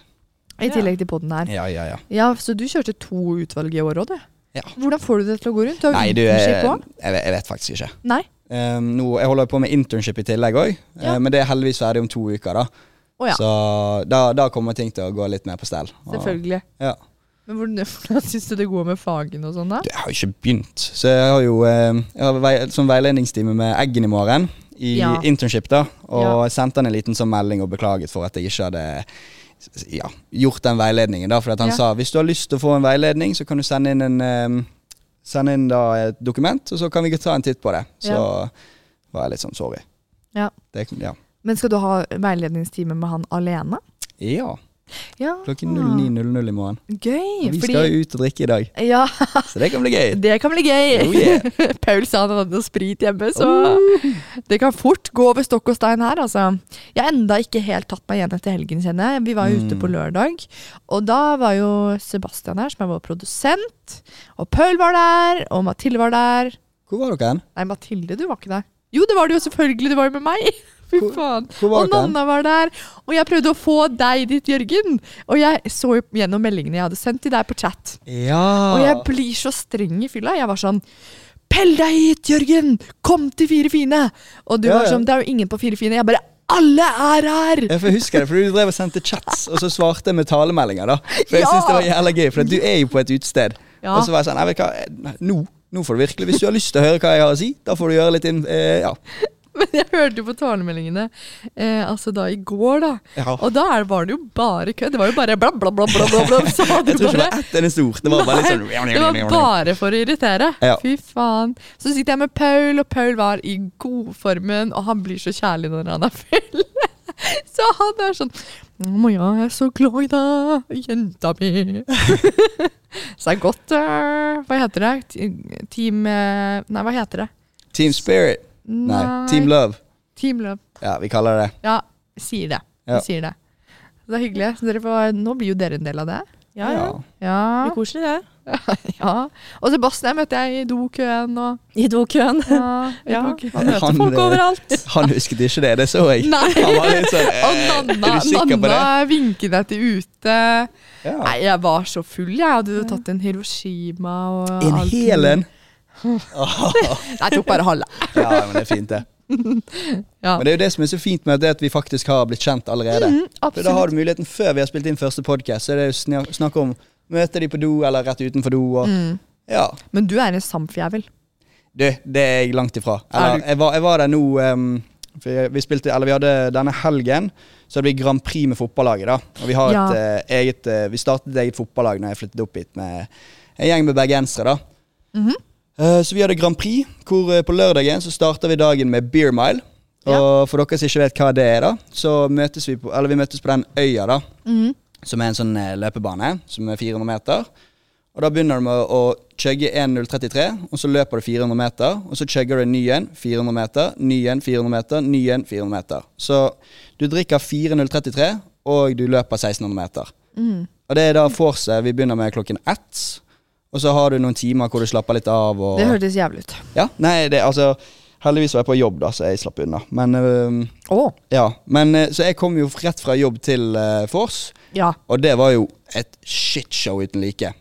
Speaker 1: I tillegg til podden her.
Speaker 2: Ja, ja, ja.
Speaker 1: Ja, Så du kjørte to utvalg i år òg, du.
Speaker 2: Ja.
Speaker 1: Hvordan får du det til å gå rundt? Du har
Speaker 2: Nei,
Speaker 1: jo
Speaker 2: du, eh, jeg,
Speaker 1: internship òg.
Speaker 2: jeg, vet- jeg vet faktisk ikke.
Speaker 1: Nei.
Speaker 2: Um, nå, jeg holder på med internship i tillegg òg,
Speaker 1: Ja.
Speaker 2: men det er heldigvis ferdig om to uker. da
Speaker 1: Å ja,
Speaker 2: Så da, da kommer ting til å gå litt mer på stell. Og-
Speaker 1: selvfølgelig.
Speaker 2: Ja.
Speaker 1: Men hvordan, hvordan syns du det går med fagene og sånn, da?
Speaker 2: Du, Jeg har jo ikke begynt. Så jeg har jo eh, jeg har vei, sånn veiledningstime med Eggen i morgen. I
Speaker 1: Ja.
Speaker 2: internship, da. Og
Speaker 1: Ja.
Speaker 2: jeg sendte han en liten sånn melding og beklaget for at jeg ikke hadde s- ja, gjort den veiledningen. da, For at han
Speaker 1: Ja.
Speaker 2: sa hvis du har lyst til å få en veiledning, så kan du sende inn en eh, Send inn da et dokument, og så kan vi ta en titt på det. Så
Speaker 1: Ja.
Speaker 2: var jeg litt sånn sorry.
Speaker 1: Ja.
Speaker 2: Det, ja.
Speaker 1: Men skal du ha veiledningstime med han alene?
Speaker 2: ja.
Speaker 1: Ja.
Speaker 2: Klokken 09.00 i morgen.
Speaker 1: Gøy.
Speaker 2: Og vi skal
Speaker 1: Ah. Fordi
Speaker 2: jo ut og drikke i dag,
Speaker 1: Ja,
Speaker 2: så det kan bli gøy.
Speaker 1: det kan bli gøy.
Speaker 2: Oh, yeah.
Speaker 1: Paul sa han hadde noe sprit hjemme, så
Speaker 2: Uh.
Speaker 1: det kan fort gå over stokk og stein her. Altså. Jeg har enda ikke helt tatt meg igjen etter helgen, kjenner jeg. Vi var jo
Speaker 2: Mm.
Speaker 1: ute på lørdag, og da var jo Sebastian her, som er vår produsent. Og Paul var der, og Mathilde var der.
Speaker 2: Hvor var dere hen?
Speaker 1: Nei, Mathilde, du var ikke der. Jo, det var du jo, selvfølgelig. Du var jo med meg. Fy
Speaker 2: Hvor-
Speaker 1: faen.
Speaker 2: Hvor var
Speaker 1: Og
Speaker 2: dere? hen?
Speaker 1: Nanna var der. Og jeg prøvde å få deg dit, Jørgen. Og jeg så jo gjennom meldingene jeg hadde sendt til deg på chat. Og
Speaker 2: Ja.
Speaker 1: jeg blir så streng i fylla. Jeg var sånn Pell deg hit, Jørgen! Kom til Fire fine! Og du
Speaker 2: Ja,
Speaker 1: var
Speaker 2: ja.
Speaker 1: sånn Det er jo ingen på Fire fine. Jeg bare Alle er her!
Speaker 2: Ja, for jeg husker det, for Du drev og sendte chats, og så svarte jeg med talemeldinger. da For jeg
Speaker 1: Ja!
Speaker 2: synes det var jævla gøy, for du er jo på et utested.
Speaker 1: Ja.
Speaker 2: Og så var jeg sånn Nei, vet du hva, nå, nå får du virkelig Hvis du har lyst til å høre hva jeg har å si, da får du gjøre litt inn... Eh, ja.
Speaker 1: Men jeg hørte jo på talemeldingene eh, altså da i går, da.
Speaker 2: ja.
Speaker 1: Og da er, var det jo bare kødd. Det var jo bare bla, bla, bla, bla, bla, bla. Så hadde
Speaker 2: Jeg
Speaker 1: du
Speaker 2: tror ikke det
Speaker 1: bare
Speaker 2: var ett eneste ord. Det var bare litt sånn
Speaker 1: Det var bare for å irritere.
Speaker 2: Ja.
Speaker 1: Fy faen. Så sitter jeg med Paul, og Paul var i godformen, og han blir så kjærlig når han er full. Så han er sånn Å, men jeg er så glad i deg, jenta mi. så det er godt eh, Hva heter det? Ti- Team eh, Nei, hva heter det?
Speaker 2: Team Spirit. Nei, Team Love.
Speaker 1: Team Love.
Speaker 2: Ja, vi kaller det det.
Speaker 1: Ja, sier det.
Speaker 2: Ja.
Speaker 1: Vi sier det. Så det er hyggelig. Så dere får, nå blir jo dere en del av det.
Speaker 3: Ja, ja. Det
Speaker 1: Ja.
Speaker 3: er koselig, det.
Speaker 1: ja. Og Sebastian møtte jeg i dokøen og
Speaker 3: I dokøen.
Speaker 1: Ja,
Speaker 3: Ja.
Speaker 1: jeg tok-
Speaker 3: Man møter
Speaker 2: Han,
Speaker 3: folk
Speaker 2: eh,
Speaker 3: overalt.
Speaker 2: Han husket ikke det, det så jeg.
Speaker 1: Nei.
Speaker 2: Han var litt sånn eh,
Speaker 1: Og Nanna,
Speaker 2: Er du sikker på det?
Speaker 1: Nanna vinket jeg til ute.
Speaker 2: Ja.
Speaker 1: Nei, jeg var så full, jeg. Jeg hadde jo tatt en Hiroshima og
Speaker 2: En
Speaker 1: alt mulig.
Speaker 2: hel en.
Speaker 1: Nei, jeg tok bare halve.
Speaker 2: Ja, men det er fint, det.
Speaker 1: Ja. Mhm,
Speaker 2: Men det er jo det som er så fint med det at vi faktisk har blitt kjent allerede. For da har
Speaker 1: Absolutt.
Speaker 2: du muligheten før vi har spilt inn første podkast, så er det jo snak- snakk om møte de på do eller rett utenfor do. Og,
Speaker 1: Mm.
Speaker 2: Ja.
Speaker 1: Men du er en samfjævel.
Speaker 2: Du, det er jeg langt ifra.
Speaker 1: Er
Speaker 2: Eller,
Speaker 1: Ah, du-
Speaker 2: jeg, var, jeg var der nå ehm, for jeg, vi, spilte, eller vi hadde denne helgen Så hadde vi Grand Prix med fotballaget. da Og vi, har
Speaker 1: Ja.
Speaker 2: et, eh, eget, eh, vi startet et eget fotballag Når jeg flyttet opp hit med en gjeng med bergensere. da
Speaker 1: Mhm.
Speaker 2: Eh, Så vi hadde Grand Prix, hvor eh, på lørdagen så starter vi dagen med Beer Mile. Og for dere som ikke vet hva det er, da så møtes vi på, eller vi møtes på den øya, da
Speaker 1: Mm.
Speaker 2: som er en sånn eh, løpebane som er 400 meter. Og da begynner du med å chugge 1.033, og så løper du 400 meter. Og så chugger du en ny en, 400 meter, ny en, 400 meter, ny en, 400 meter. Så du drikker 4.033, og du løper 1600 meter.
Speaker 1: Mm.
Speaker 2: Og det er da vorset vi begynner med klokken ett. Og så har du noen timer hvor du slapper litt av. Og
Speaker 1: Det hørtes jævlig ut.
Speaker 2: ja, nei, det, altså, heldigvis var jeg på jobb, da, så jeg slapp unna. Men, øhm,
Speaker 1: Å.
Speaker 2: ja. Men, eh, så jeg kom jo rett fra jobb til uh, vors,
Speaker 1: Ja.
Speaker 2: og det var jo et shitshow uten like.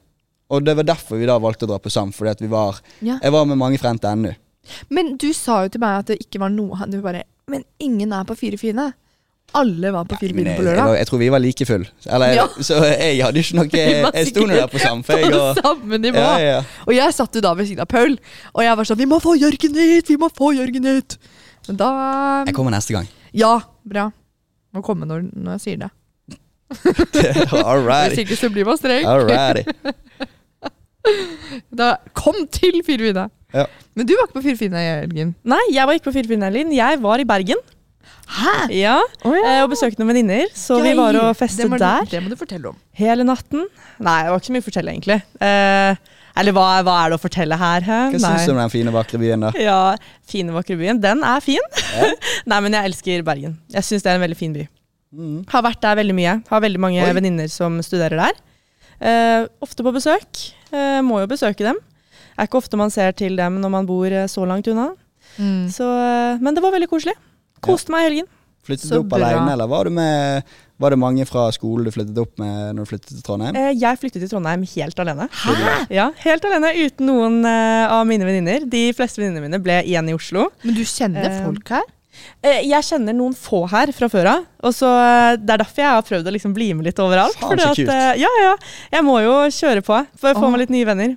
Speaker 2: Og det var derfor vi da valgte å dra på SAM, fordi at vi var
Speaker 1: ja.
Speaker 2: Jeg var med mange frem til NU.
Speaker 1: Men du sa jo til meg at det ikke var noe Du bare Men ingen er på Fire fine. Alle var på Fire
Speaker 2: Men
Speaker 1: fine
Speaker 2: jeg,
Speaker 1: på
Speaker 2: jeg,
Speaker 1: lørdag.
Speaker 2: var- jeg tror vi var like full Eller,
Speaker 1: Ja.
Speaker 2: Så jeg hadde ikke noe
Speaker 1: Vi var
Speaker 2: Jeg sto nå der på SAM, for jeg og
Speaker 1: På samme nivå.
Speaker 2: ja, ja.
Speaker 1: Og jeg satt jo da ved siden av Paul, og jeg var sånn Vi må få Jørgen hit! Vi må få Jørgen hit! Men da
Speaker 2: Jeg kommer neste gang.
Speaker 1: Ja, bra. Må komme når, når jeg sier det.
Speaker 2: All
Speaker 1: Hvis
Speaker 2: righty.
Speaker 1: ikke så blir man streng.
Speaker 2: All righty.
Speaker 1: Da kom til Firefine!
Speaker 2: Ja.
Speaker 1: Men du var ikke på Firefine, Jørgen.
Speaker 3: Nei, jeg var ikke på Filippinerlin. Jeg var i Bergen
Speaker 1: Hæ?
Speaker 3: Ja, eh, og besøkte noen venninner. Så vi var og festet der
Speaker 1: Det må du fortelle om.
Speaker 3: hele natten. Nei, det var ikke så mye å fortelle, egentlig. Eh, eller hva, hva er det å fortelle her? hæ?
Speaker 2: Hva
Speaker 3: Nei.
Speaker 2: syns du om den fine, vakre byen, da?
Speaker 3: Ja, fine, vakre byen. Den er fin. Nei, men jeg elsker Bergen. Jeg syns det er en veldig fin by.
Speaker 2: Mhm.
Speaker 3: Har vært der veldig mye. Har veldig mange
Speaker 2: Oi.
Speaker 3: venninner som studerer der. Eh, ofte på besøk. Eh, må jo besøke dem. Det er ikke ofte man ser til dem når man bor eh, så langt unna. Så, eh, men det var veldig koselig. Koste meg i helgen.
Speaker 2: Flyttet du
Speaker 1: Så
Speaker 2: opp
Speaker 1: bra.
Speaker 2: alene, eller var, du med, var det mange fra skolen du flyttet opp med når du flyttet til Trondheim?
Speaker 3: Eh, jeg flyttet til Trondheim helt alene.
Speaker 1: Hæ?
Speaker 3: Ja, Helt alene, uten noen eh, av mine venninner. De fleste venninnene mine ble igjen i Oslo.
Speaker 1: Men du kjenner
Speaker 3: Eh,
Speaker 1: folk her?
Speaker 3: Eh, Jeg kjenner noen få her fra før av. Og så eh, Det er derfor jeg har prøvd å liksom bli med litt overalt.
Speaker 2: Faen, så kult.
Speaker 3: eh, ja, ja, jeg må jo kjøre på for å
Speaker 1: Åh.
Speaker 3: få meg litt nye venner.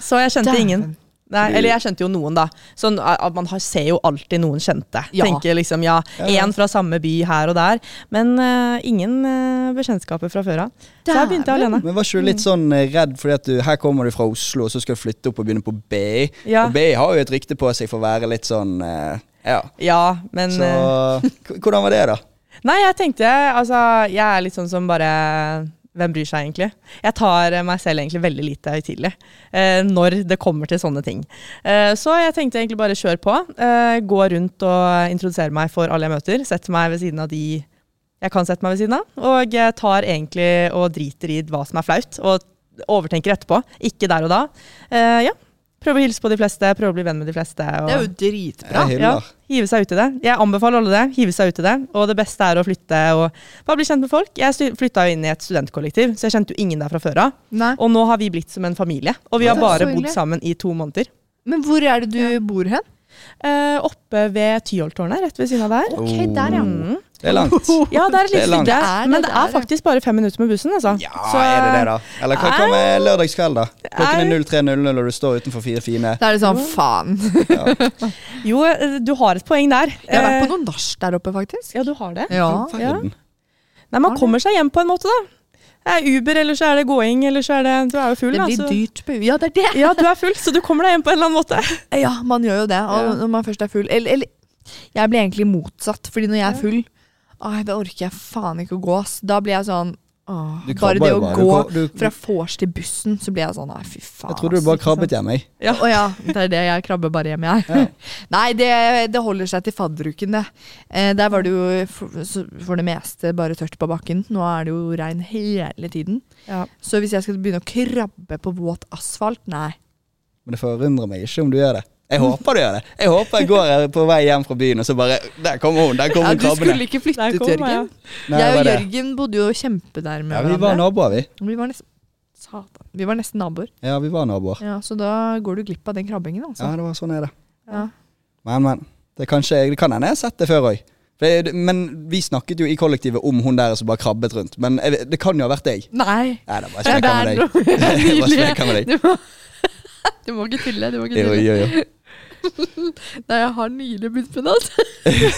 Speaker 3: Så jeg kjente ingen.
Speaker 1: Dæven.
Speaker 3: Nei,
Speaker 2: Du-
Speaker 3: eller jeg kjente jo noen, da. Sånn eh, at Man har, ser jo alltid noen kjente.
Speaker 1: Ja.
Speaker 3: Tenker liksom, ja,
Speaker 2: Ja, ja.
Speaker 3: Én fra samme by her og der. Men eh, ingen eh, bekjentskaper fra før av. Så jeg begynte
Speaker 1: Dæven.
Speaker 3: alene.
Speaker 2: Men var ikke du litt sånn eh, redd fordi at du, her kommer du fra Oslo, og så skal du flytte opp og begynne på BI?
Speaker 3: Ja,
Speaker 2: Og BI har jo et rykte på seg for å være litt sånn eh, Ja.
Speaker 3: ja men
Speaker 2: Så
Speaker 3: eh,
Speaker 2: k- hvordan var det, da?
Speaker 3: Nei, jeg tenkte Altså, jeg er litt sånn som bare hvem bryr seg egentlig? Jeg tar eh, meg selv egentlig veldig lite høytidelig eh, når det kommer til sånne ting. Eh, så jeg tenkte egentlig bare kjør på. Eh, gå rundt og introdusere meg for alle jeg møter. Sette meg ved siden av de jeg kan sette meg ved siden av. Og jeg tar egentlig og driter i hva som er flaut, og overtenker etterpå. Ikke der og da. Eh, ja. Prøve å hilse på de fleste, prøve å bli venn med de fleste. Og
Speaker 1: Det er jo dritbra.
Speaker 2: Jeg
Speaker 3: ja,
Speaker 2: hyller.
Speaker 3: hive seg ut i det. Jeg anbefaler alle det. Hive seg ut i det. Og det beste er å flytte og bare bli kjent med folk. Jeg stu- flytta jo inn i et studentkollektiv, så jeg kjente jo ingen der fra før av.
Speaker 1: Nei.
Speaker 3: Og nå har vi blitt som en familie. Og vi
Speaker 2: Ja,
Speaker 3: har bare
Speaker 1: så
Speaker 3: bodd
Speaker 1: hyggelig.
Speaker 3: sammen i to måneder.
Speaker 1: Men hvor er det du bor hen?
Speaker 3: Eh, oppe ved Tyholttårnet, rett ved siden av der.
Speaker 1: Ok, der, ja.
Speaker 3: Mm.
Speaker 2: Oh. Det er langt.
Speaker 3: Ja, det er et
Speaker 2: Det er
Speaker 3: lite
Speaker 2: langt.
Speaker 1: Det
Speaker 3: stykke.
Speaker 1: er det,
Speaker 3: Men det
Speaker 1: det
Speaker 3: er
Speaker 1: er det.
Speaker 3: faktisk bare fem minutter med bussen, altså.
Speaker 2: Ja,
Speaker 3: Så-
Speaker 2: er det det, da? Eller hva hva med lørdagskveld, da? Klokken er
Speaker 3: Nei.
Speaker 2: 03.00, og du står utenfor Fire fine.
Speaker 1: Da er det sånn, faen.
Speaker 3: Jo, eh, du har et poeng der.
Speaker 1: Jeg har vært
Speaker 3: Eh,
Speaker 1: på noen nach der oppe, faktisk.
Speaker 3: Ja, du har det.
Speaker 1: Ja.
Speaker 2: Å, verden.
Speaker 3: Nei,
Speaker 1: Har
Speaker 3: man
Speaker 1: det.
Speaker 3: kommer seg hjem på en måte, da. Det er Uber, eller så er det gåing, eller så er det Du er jo full,
Speaker 1: Det
Speaker 3: da.
Speaker 1: blir
Speaker 3: så-
Speaker 1: dyrt på Ja, det er det!
Speaker 3: Ja, du er full, så du kommer deg hjem på en eller annen måte.
Speaker 1: Ja, man gjør jo det. Og
Speaker 3: Ja.
Speaker 1: når man først er full Eller, eller jeg blir egentlig motsatt, fordi når jeg er full, ai, da orker jeg faen ikke å gå, ass. Da blir jeg sånn åh,
Speaker 2: Du krabber
Speaker 1: Bare det å
Speaker 2: jo bare.
Speaker 1: gå
Speaker 2: Du- du-
Speaker 1: fra vors til bussen, så blir jeg sånn nei, fy faen.
Speaker 2: Jeg trodde du
Speaker 1: ass.
Speaker 2: bare krabbet hjem, jeg.
Speaker 1: Å ja, det er det. Jeg krabber bare hjem, jeg. Nei, det, det holder seg til fadderuken, det. Eh, der var det jo for, så- for det meste bare tørt på bakken. Nå er det jo regn hele tiden.
Speaker 3: Ja.
Speaker 1: Så hvis jeg skal begynne å krabbe på våt asfalt, nei.
Speaker 2: Men det forundrer meg ikke om du gjør det. Jeg håper du gjør det. Jeg håper jeg går her på vei hjem fra byen, og så bare Der kommer hun! Der
Speaker 1: Ja,
Speaker 2: kommer
Speaker 1: du
Speaker 2: krabbene!
Speaker 1: skulle ikke flytte,
Speaker 3: Der kom jeg.
Speaker 1: Jørgen.
Speaker 2: Nei, det
Speaker 1: jeg
Speaker 2: var
Speaker 1: og
Speaker 2: det.
Speaker 1: Jørgen bodde jo kjempenærme
Speaker 2: Ja, vi var naboer, vi.
Speaker 1: Vi var nesten Satan. Vi var nesten naboer.
Speaker 2: Ja, vi var naboer.
Speaker 1: Ja, så da går du glipp av den krabbingen,
Speaker 2: Ja,
Speaker 1: altså.
Speaker 2: det var sånn er det.
Speaker 1: Ja.
Speaker 2: Men, men. Det, er kanskje, det kan hende jeg har sett det før òg. Men vi snakket jo i kollektivet om hun der som bare krabbet rundt. Men jeg, vet- det kan jo ha vært deg.
Speaker 1: Nei!
Speaker 2: Nei, det var
Speaker 1: Ja, det
Speaker 2: slekka med
Speaker 1: er
Speaker 2: deg.
Speaker 1: noe-
Speaker 2: Jeg bare
Speaker 1: Nydelig.
Speaker 2: sleker med deg.
Speaker 1: Du må, du må ikke tulle. Du må ikke
Speaker 2: Jo,
Speaker 1: tulle.
Speaker 2: jo, jo.
Speaker 1: Nei, jeg har nylig begynt med det. altså.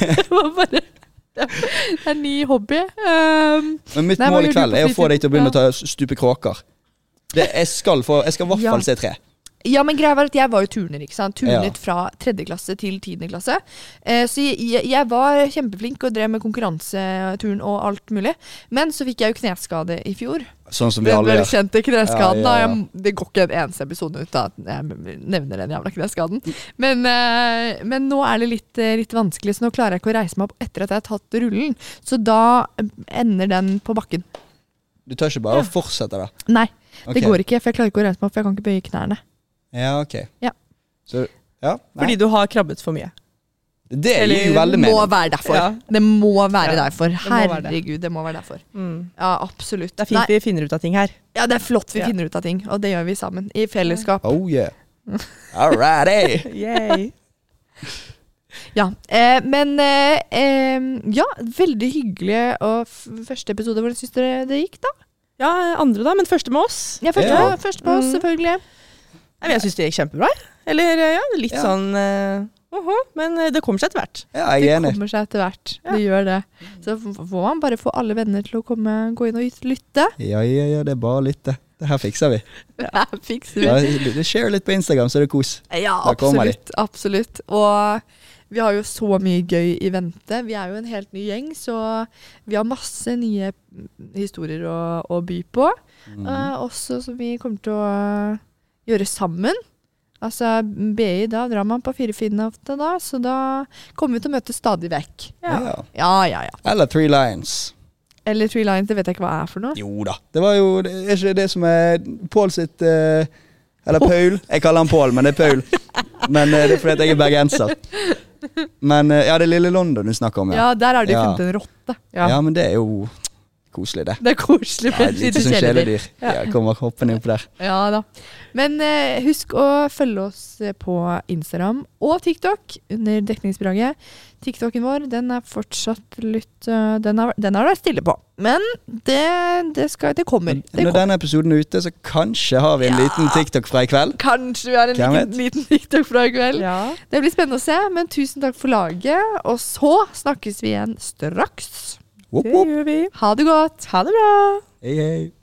Speaker 1: Det var bare Det er en ny hobby. Um,
Speaker 2: Men mitt
Speaker 1: Nei, hva
Speaker 2: mål
Speaker 1: gjør
Speaker 2: i
Speaker 1: du
Speaker 2: kveld
Speaker 1: på
Speaker 2: er å få deg til å begynne
Speaker 1: fritiden?
Speaker 2: å ta stupe kråker. Det, jeg skal få Jeg skal i hvert
Speaker 1: Ja.
Speaker 2: fall se tre.
Speaker 1: ja, men greia var at jeg var jo turner, ikke sant.
Speaker 2: Ja.
Speaker 1: Turnet fra tredje klasse til tiende klasse. Eh, så jeg, jeg var kjempeflink og drev med konkurranseturn og alt mulig. Men så fikk jeg jo kneskade i fjor.
Speaker 2: Sånn som vi
Speaker 1: Den
Speaker 2: alle gjør.
Speaker 1: velkjente kneskaden.
Speaker 2: Ja, ja, ja.
Speaker 1: da. Jeg- Det går ikke en eneste episode ut av at jeg nevner den jævla kneskaden. Men, eh, men nå er det litt, eh, litt vanskelig, så nå klarer jeg ikke å reise meg opp etter at jeg har tatt rullen. Så da ender den på bakken.
Speaker 2: Du tør ikke bare å fortsette, da?
Speaker 1: Nei,
Speaker 2: Ok.
Speaker 1: det går ikke, for jeg klarer ikke å reise meg opp, for jeg kan ikke bøye knærne.
Speaker 2: Ja, ok.
Speaker 1: Ja.
Speaker 2: Så, ja, nei.
Speaker 3: Fordi du har krabbet for mye.
Speaker 2: Det
Speaker 3: Eller-
Speaker 2: gir jo veldig
Speaker 1: Det må
Speaker 2: mening.
Speaker 1: være derfor.
Speaker 3: Ja.
Speaker 1: Det må være
Speaker 3: Ja,
Speaker 1: derfor.
Speaker 3: må være det.
Speaker 1: Herregud, det må være derfor.
Speaker 3: Mm.
Speaker 1: Ja, absolutt.
Speaker 3: Det er fint
Speaker 1: Nei,
Speaker 3: vi finner ut av ting her.
Speaker 1: ja, det er flott vi
Speaker 3: Ja.
Speaker 1: finner ut av ting, og det gjør vi sammen. I fellesskap.
Speaker 2: Oh yeah. All righty.
Speaker 3: Yay.
Speaker 1: Ja, eh, men eh, eh, Ja, veldig hyggelig. Og f første episode, hvordan syns dere det gikk, da?
Speaker 3: Ja, andre da, men første med oss.
Speaker 1: Ja, første,
Speaker 2: Ja.
Speaker 1: første på oss,
Speaker 3: Mm.
Speaker 1: selvfølgelig.
Speaker 3: Nei, men jeg syns det gikk kjempebra. jeg. Eller eh, ja, litt
Speaker 2: Ja.
Speaker 3: sånn eh, oho, Men eh, det kommer seg etter hvert.
Speaker 2: Ja, jeg
Speaker 1: Det
Speaker 2: er enig.
Speaker 1: kommer seg etter hvert. Det gjør det. Så f- får man bare få alle venner til å komme, gå inn og yt- lytte.
Speaker 2: Ja, ja, ja, det er bare å lytte. Det her fikser vi.
Speaker 1: Ja, fikser vi.
Speaker 2: Ja, du- share litt på Instagram, så er det kos.
Speaker 1: Ja,
Speaker 2: Da kommer de.
Speaker 1: absolutt. Absolutt. Og vi har jo så mye gøy i vente. Vi er jo en helt ny gjeng, så vi har masse nye historier å, å by på.
Speaker 2: Mm.
Speaker 1: Eh, også som vi kommer til å gjøre sammen. Altså BI, da drar man på Firefinnen ofte, da, så da kommer vi til å møtes stadig vekk.
Speaker 2: Ja.
Speaker 1: Ja, ja, ja.
Speaker 2: Eller Three Lions.
Speaker 1: Eller Three Lines, det vet jeg ikke hva er for noe.
Speaker 2: Jo da. Det var jo det er ikke det som er Pål sitt eh, Eller Paul. Jeg kaller han Pål, men det er Paul. Men eh, det er fordi at jeg er bergenser. Men eh, ja, det er lille London du snakker om, ja.
Speaker 1: Ja, der har de
Speaker 2: Ja.
Speaker 1: funnet en rotte.
Speaker 2: Ja, men det er jo koselig, det.
Speaker 1: Det er koselig
Speaker 2: Ja,
Speaker 1: med et
Speaker 2: litt
Speaker 1: lite
Speaker 2: som
Speaker 1: kjæledyr.
Speaker 2: kjæledyr. Ja, kommer hoppende opp der.
Speaker 1: Ja da. Men eh, husk å følge oss eh, på Instagram og TikTok under dekningsbidraget. TikToken vår den er fortsatt litt eh, Den har den har vært stille på. Men det, det, skal, det kommer. Det
Speaker 2: Når
Speaker 1: kommer.
Speaker 2: denne episoden er ute, så kanskje har vi en liten TikTok fra i kveld.
Speaker 1: Kanskje vi har en
Speaker 2: Hvem
Speaker 1: liten, liten TikTok fra i kveld.
Speaker 3: Ja.
Speaker 1: Det blir spennende å se, men tusen takk for laget. Og så snakkes vi igjen straks.
Speaker 2: Woop,
Speaker 3: Det
Speaker 2: woop.
Speaker 3: gjør vi.
Speaker 1: Ha det godt.
Speaker 3: Ha det bra.
Speaker 2: Hei, hei.